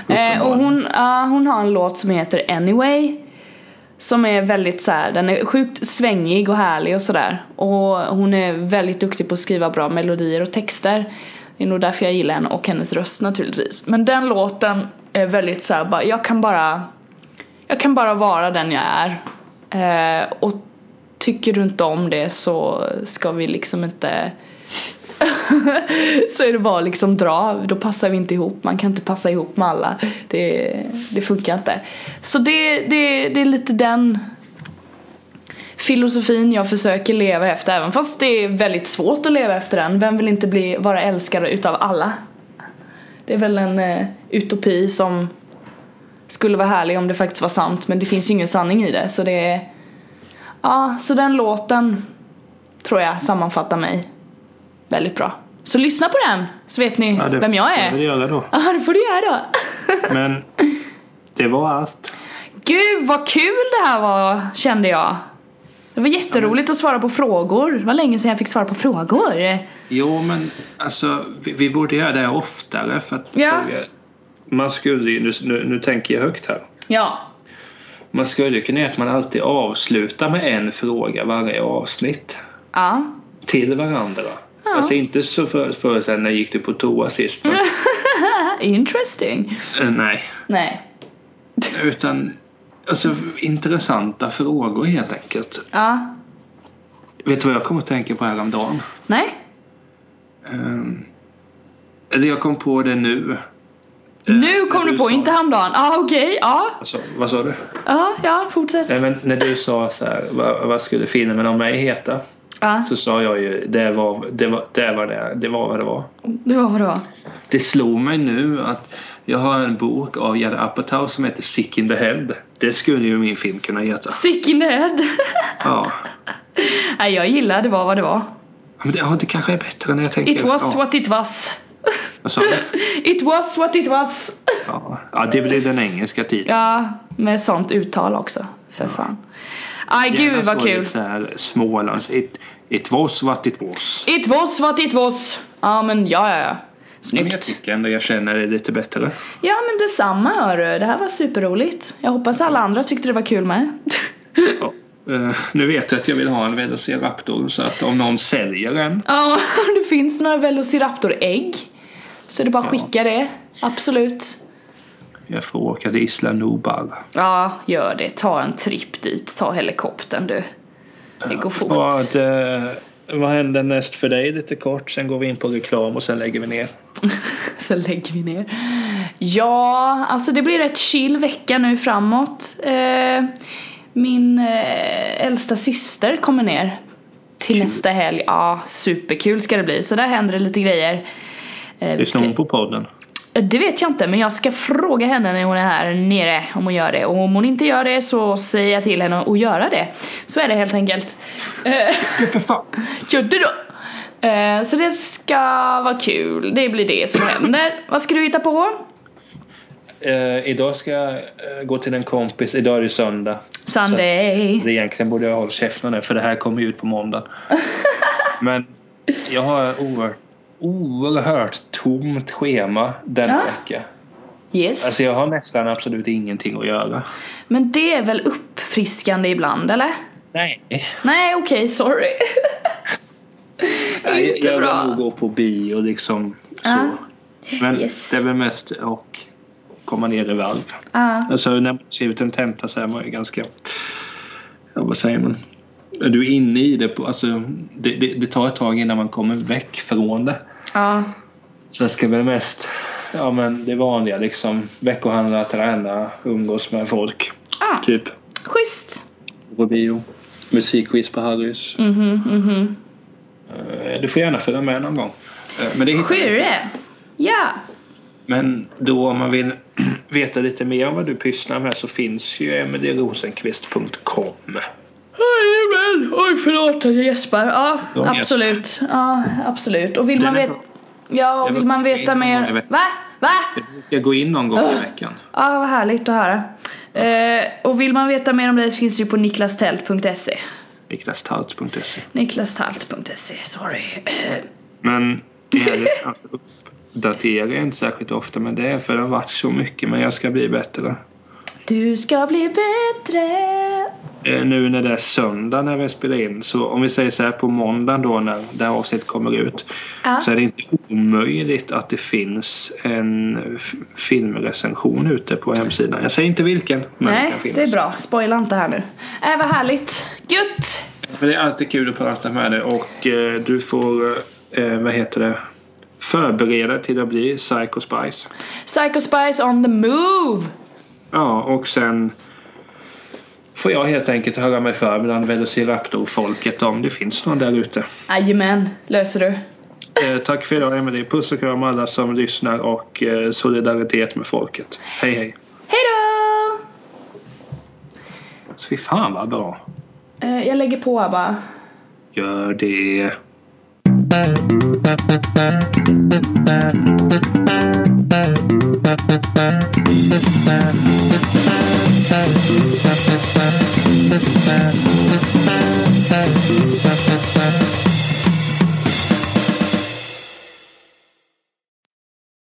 Speaker 2: Eh, och hon, ja, hon har en låt som heter Anyway. Som är väldigt så här, den är sjukt svängig och härlig och sådär. Och hon är väldigt duktig på att skriva bra melodier och texter. Det är nog därför jag gillar henne och hennes röst naturligtvis. Men den låten är väldigt så här, bara, jag kan bara jag kan bara vara den jag är. Eh, och tycker du inte om det så ska vi liksom inte [laughs] så är det bara liksom dra, då passar vi inte ihop, man kan inte passa ihop med alla. Det, det funkar inte. Så det, det, det är lite den filosofin jag försöker leva efter, även fast det är väldigt svårt att leva efter den. Vem vill inte bli, vara älskad utav alla? Det är väl en eh, utopi som skulle vara härlig om det faktiskt var sant men det finns ju ingen sanning i det så det är Ja, så den låten tror jag sammanfattar mig väldigt bra. Så lyssna på den så vet ni
Speaker 1: Ja, det
Speaker 2: vem jag
Speaker 1: får vi
Speaker 2: är.
Speaker 1: göra då.
Speaker 2: Ja, det får du göra då.
Speaker 1: Men det var allt.
Speaker 2: Gud vad kul det här var kände jag. Det var jätteroligt att svara på frågor. Det var länge sedan jag fick svara på frågor.
Speaker 1: Jo, men alltså vi, vi borde göra det oftare för att
Speaker 2: Ja.
Speaker 1: fråga- man skulle ju, nu, nu, nu tänker jag högt här.
Speaker 2: Ja,
Speaker 1: Man skulle ju kunna göra att man alltid avslutar med en fråga varje avsnitt
Speaker 2: ja.
Speaker 1: till varandra.
Speaker 2: Ja.
Speaker 1: Alltså inte så för, för sen när gick du på toa sist? Men,
Speaker 2: Interesting.
Speaker 1: eh, nej,
Speaker 2: Nej.
Speaker 1: utan alltså intressanta frågor helt enkelt.
Speaker 2: Ja.
Speaker 1: Vet du vad jag kom att tänka på häromdagen?
Speaker 2: Nej.
Speaker 1: Um, eller jag kom på det nu.
Speaker 2: Nu kom du på, inte häromdagen. Ja, ah, okej. Ja.
Speaker 1: Alltså, vad sa du?
Speaker 2: Ja, ja, fortsätt.
Speaker 1: Nej, men när du sa så här, vad, vad skulle filmen om mig heta?
Speaker 2: Ja,
Speaker 1: Så sa jag ju, det var det, var, det, var det, det var vad det var.
Speaker 2: det var vad det var.
Speaker 1: Det slog mig nu att jag har en bok av Judd Apatow som heter Sick in the Head. Det skulle ju min film kunna heta.
Speaker 2: Sick in the head.
Speaker 1: Ja.
Speaker 2: [laughs] Nej, jag gillar det var vad det var.
Speaker 1: Men det, ja, det kanske är bättre när jag tänker...
Speaker 2: It was
Speaker 1: ja,
Speaker 2: what it was.
Speaker 1: vad sa du?
Speaker 2: It was what it was.
Speaker 1: ja. ja, det blev den engelska titeln.
Speaker 2: Ja, med sånt uttal också. För fan. Aj, gud vad kul.
Speaker 1: Så här Smålands. It, it was what it was.
Speaker 2: It was what it was. Ja, men ja, ja, ja.
Speaker 1: Men jag
Speaker 2: Snyggt.
Speaker 1: tycker ändå jag känner det lite bättre.
Speaker 2: Ja, men detsamma hörru. Det här var superroligt. Jag hoppas alla andra tyckte det var kul med. [laughs]
Speaker 1: Ja. Eh, nu vet jag att jag vill ha en Velociraptor så att om någon säljer en
Speaker 2: Ja, om det finns några Velociraptor-ägg så är det bara att skicka det. Absolut.
Speaker 1: jag får åka till Isla Nubal.
Speaker 2: Ja, gör det. Ta en tripp dit. Ta helikoptern du. Det går fort.
Speaker 1: Vad, eh, vad händer näst för dig lite kort? Sen går vi in på reklam och sen lägger vi ner.
Speaker 2: Så lägger vi ner. Ja, alltså det blir rätt chill vecka nu framåt. Eh, min eh, äldsta syster kommer ner till
Speaker 1: Kul.
Speaker 2: nästa helg. Ja, superkul ska det bli. Så där händer det lite grejer. Eh, vi
Speaker 1: Lyssnar
Speaker 2: ska, Eh,
Speaker 1: hon på podden?
Speaker 2: det vet jag inte, men jag ska fråga henne när hon är här nere om hon gör det. Och om hon inte gör det så säger jag till henne att göra det. Så är det helt enkelt. Eh, [laughs]
Speaker 1: För fan.
Speaker 2: Gjorde du? Eh, Så det ska vara kul. Det blir det som händer. Vad ska du hitta på?
Speaker 1: Eh, idag ska jag eh, gå till en kompis. Idag är det söndag.
Speaker 2: Sunday.
Speaker 1: Det egentligen borde jag hålla käften nu för det här kommer ju ut på
Speaker 2: [laughs]
Speaker 1: måndag. Men jag har oerhört, oerhört tomt schema denna
Speaker 2: Ja.
Speaker 1: vecka.
Speaker 2: Yes.
Speaker 1: Alltså jag har nästan absolut ingenting att göra.
Speaker 2: Men det är väl uppfriskande ibland, eller?
Speaker 1: Nej.
Speaker 2: Nej, okej, sorry.
Speaker 1: Jag,
Speaker 2: Inte
Speaker 1: jag vill nog
Speaker 2: bra.
Speaker 1: gå på bio liksom. Så.
Speaker 2: Ja.
Speaker 1: Men
Speaker 2: Yes.
Speaker 1: det är väl mest att komma ner i valv.
Speaker 2: Ah,
Speaker 1: Alltså när man skrivit en tenta så är man ju ganska... Ja, vad säger man? Du är inne i det. På, alltså, det, det, det tar ett tag innan man kommer väck från det.
Speaker 2: ah,
Speaker 1: Så jag ska väl mest... Ja men det vanliga liksom. Veckohandla, träna, umgås med folk.
Speaker 2: ah.
Speaker 1: Typ
Speaker 2: Schysst.
Speaker 1: gå på bio. Musikquiz på Harrys.
Speaker 2: Mhm, mhm.
Speaker 1: Eh, Du får gärna följa med någon gång. Eh, Men det hittar jag inte.
Speaker 2: Skyrre. Ja.
Speaker 1: Men då om man vill [clears throat] veta lite mer om vad du pysslar med så finns ju emilierosenqvist.com.
Speaker 2: Jajamän. Oj, förlåt att jag gäspar. Ja,
Speaker 1: De gäspar.
Speaker 2: absolut. Ja, absolut. Och vill
Speaker 1: Den
Speaker 2: man
Speaker 1: är
Speaker 2: veta...
Speaker 1: bra.
Speaker 2: Ja, och
Speaker 1: Jag
Speaker 2: vill man
Speaker 1: brukar inte
Speaker 2: veta
Speaker 1: gå
Speaker 2: mer...
Speaker 1: i veckan.
Speaker 2: Va? Va?
Speaker 1: Jag går in någon gång i veckan.
Speaker 2: Ja, vad härligt att höra. Eh, och vill man veta mer om dig så finns det ju på niklastelt.se.
Speaker 1: Niklastalt.se.
Speaker 2: Niklastalt.se, sorry. Eh,
Speaker 1: Men i övrigt, alltså, uppdaterar jag inte särskilt ofta men det är för det har varit så mycket men jag ska bli bättre.
Speaker 2: Du ska bli bättre.
Speaker 1: Eh, Nu när det är söndag när vi spelar in så om vi säger så här på måndagen då när det här avsnittet kommer ut
Speaker 2: Ja.
Speaker 1: så är det inte omöjligt att det finns en f- filmrecension ute på hemsidan. Jag säger inte vilken men
Speaker 2: Nej,
Speaker 1: kan finnas.
Speaker 2: det är bra. Spoila inte här nu. Äh, vad härligt. Gött!
Speaker 1: Men det är alltid kul att prata med dig och eh, du får, eh, vad heter det, förbereda dig till att bli Psycho Spice.
Speaker 2: Psycho Spice on the move!
Speaker 1: Ja, och sen får jag helt enkelt höra mig för bland Velociraptor-folket om det finns någon där ute.
Speaker 2: Jajamän, löser du.
Speaker 1: Eh, tack för idag Emelie. Puss och kram alla som lyssnar och eh, solidaritet med folket. Hej hej.
Speaker 2: Hej då!
Speaker 1: Så fy fan vad bra.
Speaker 2: Eh, jag lägger på bara.
Speaker 1: Gör det.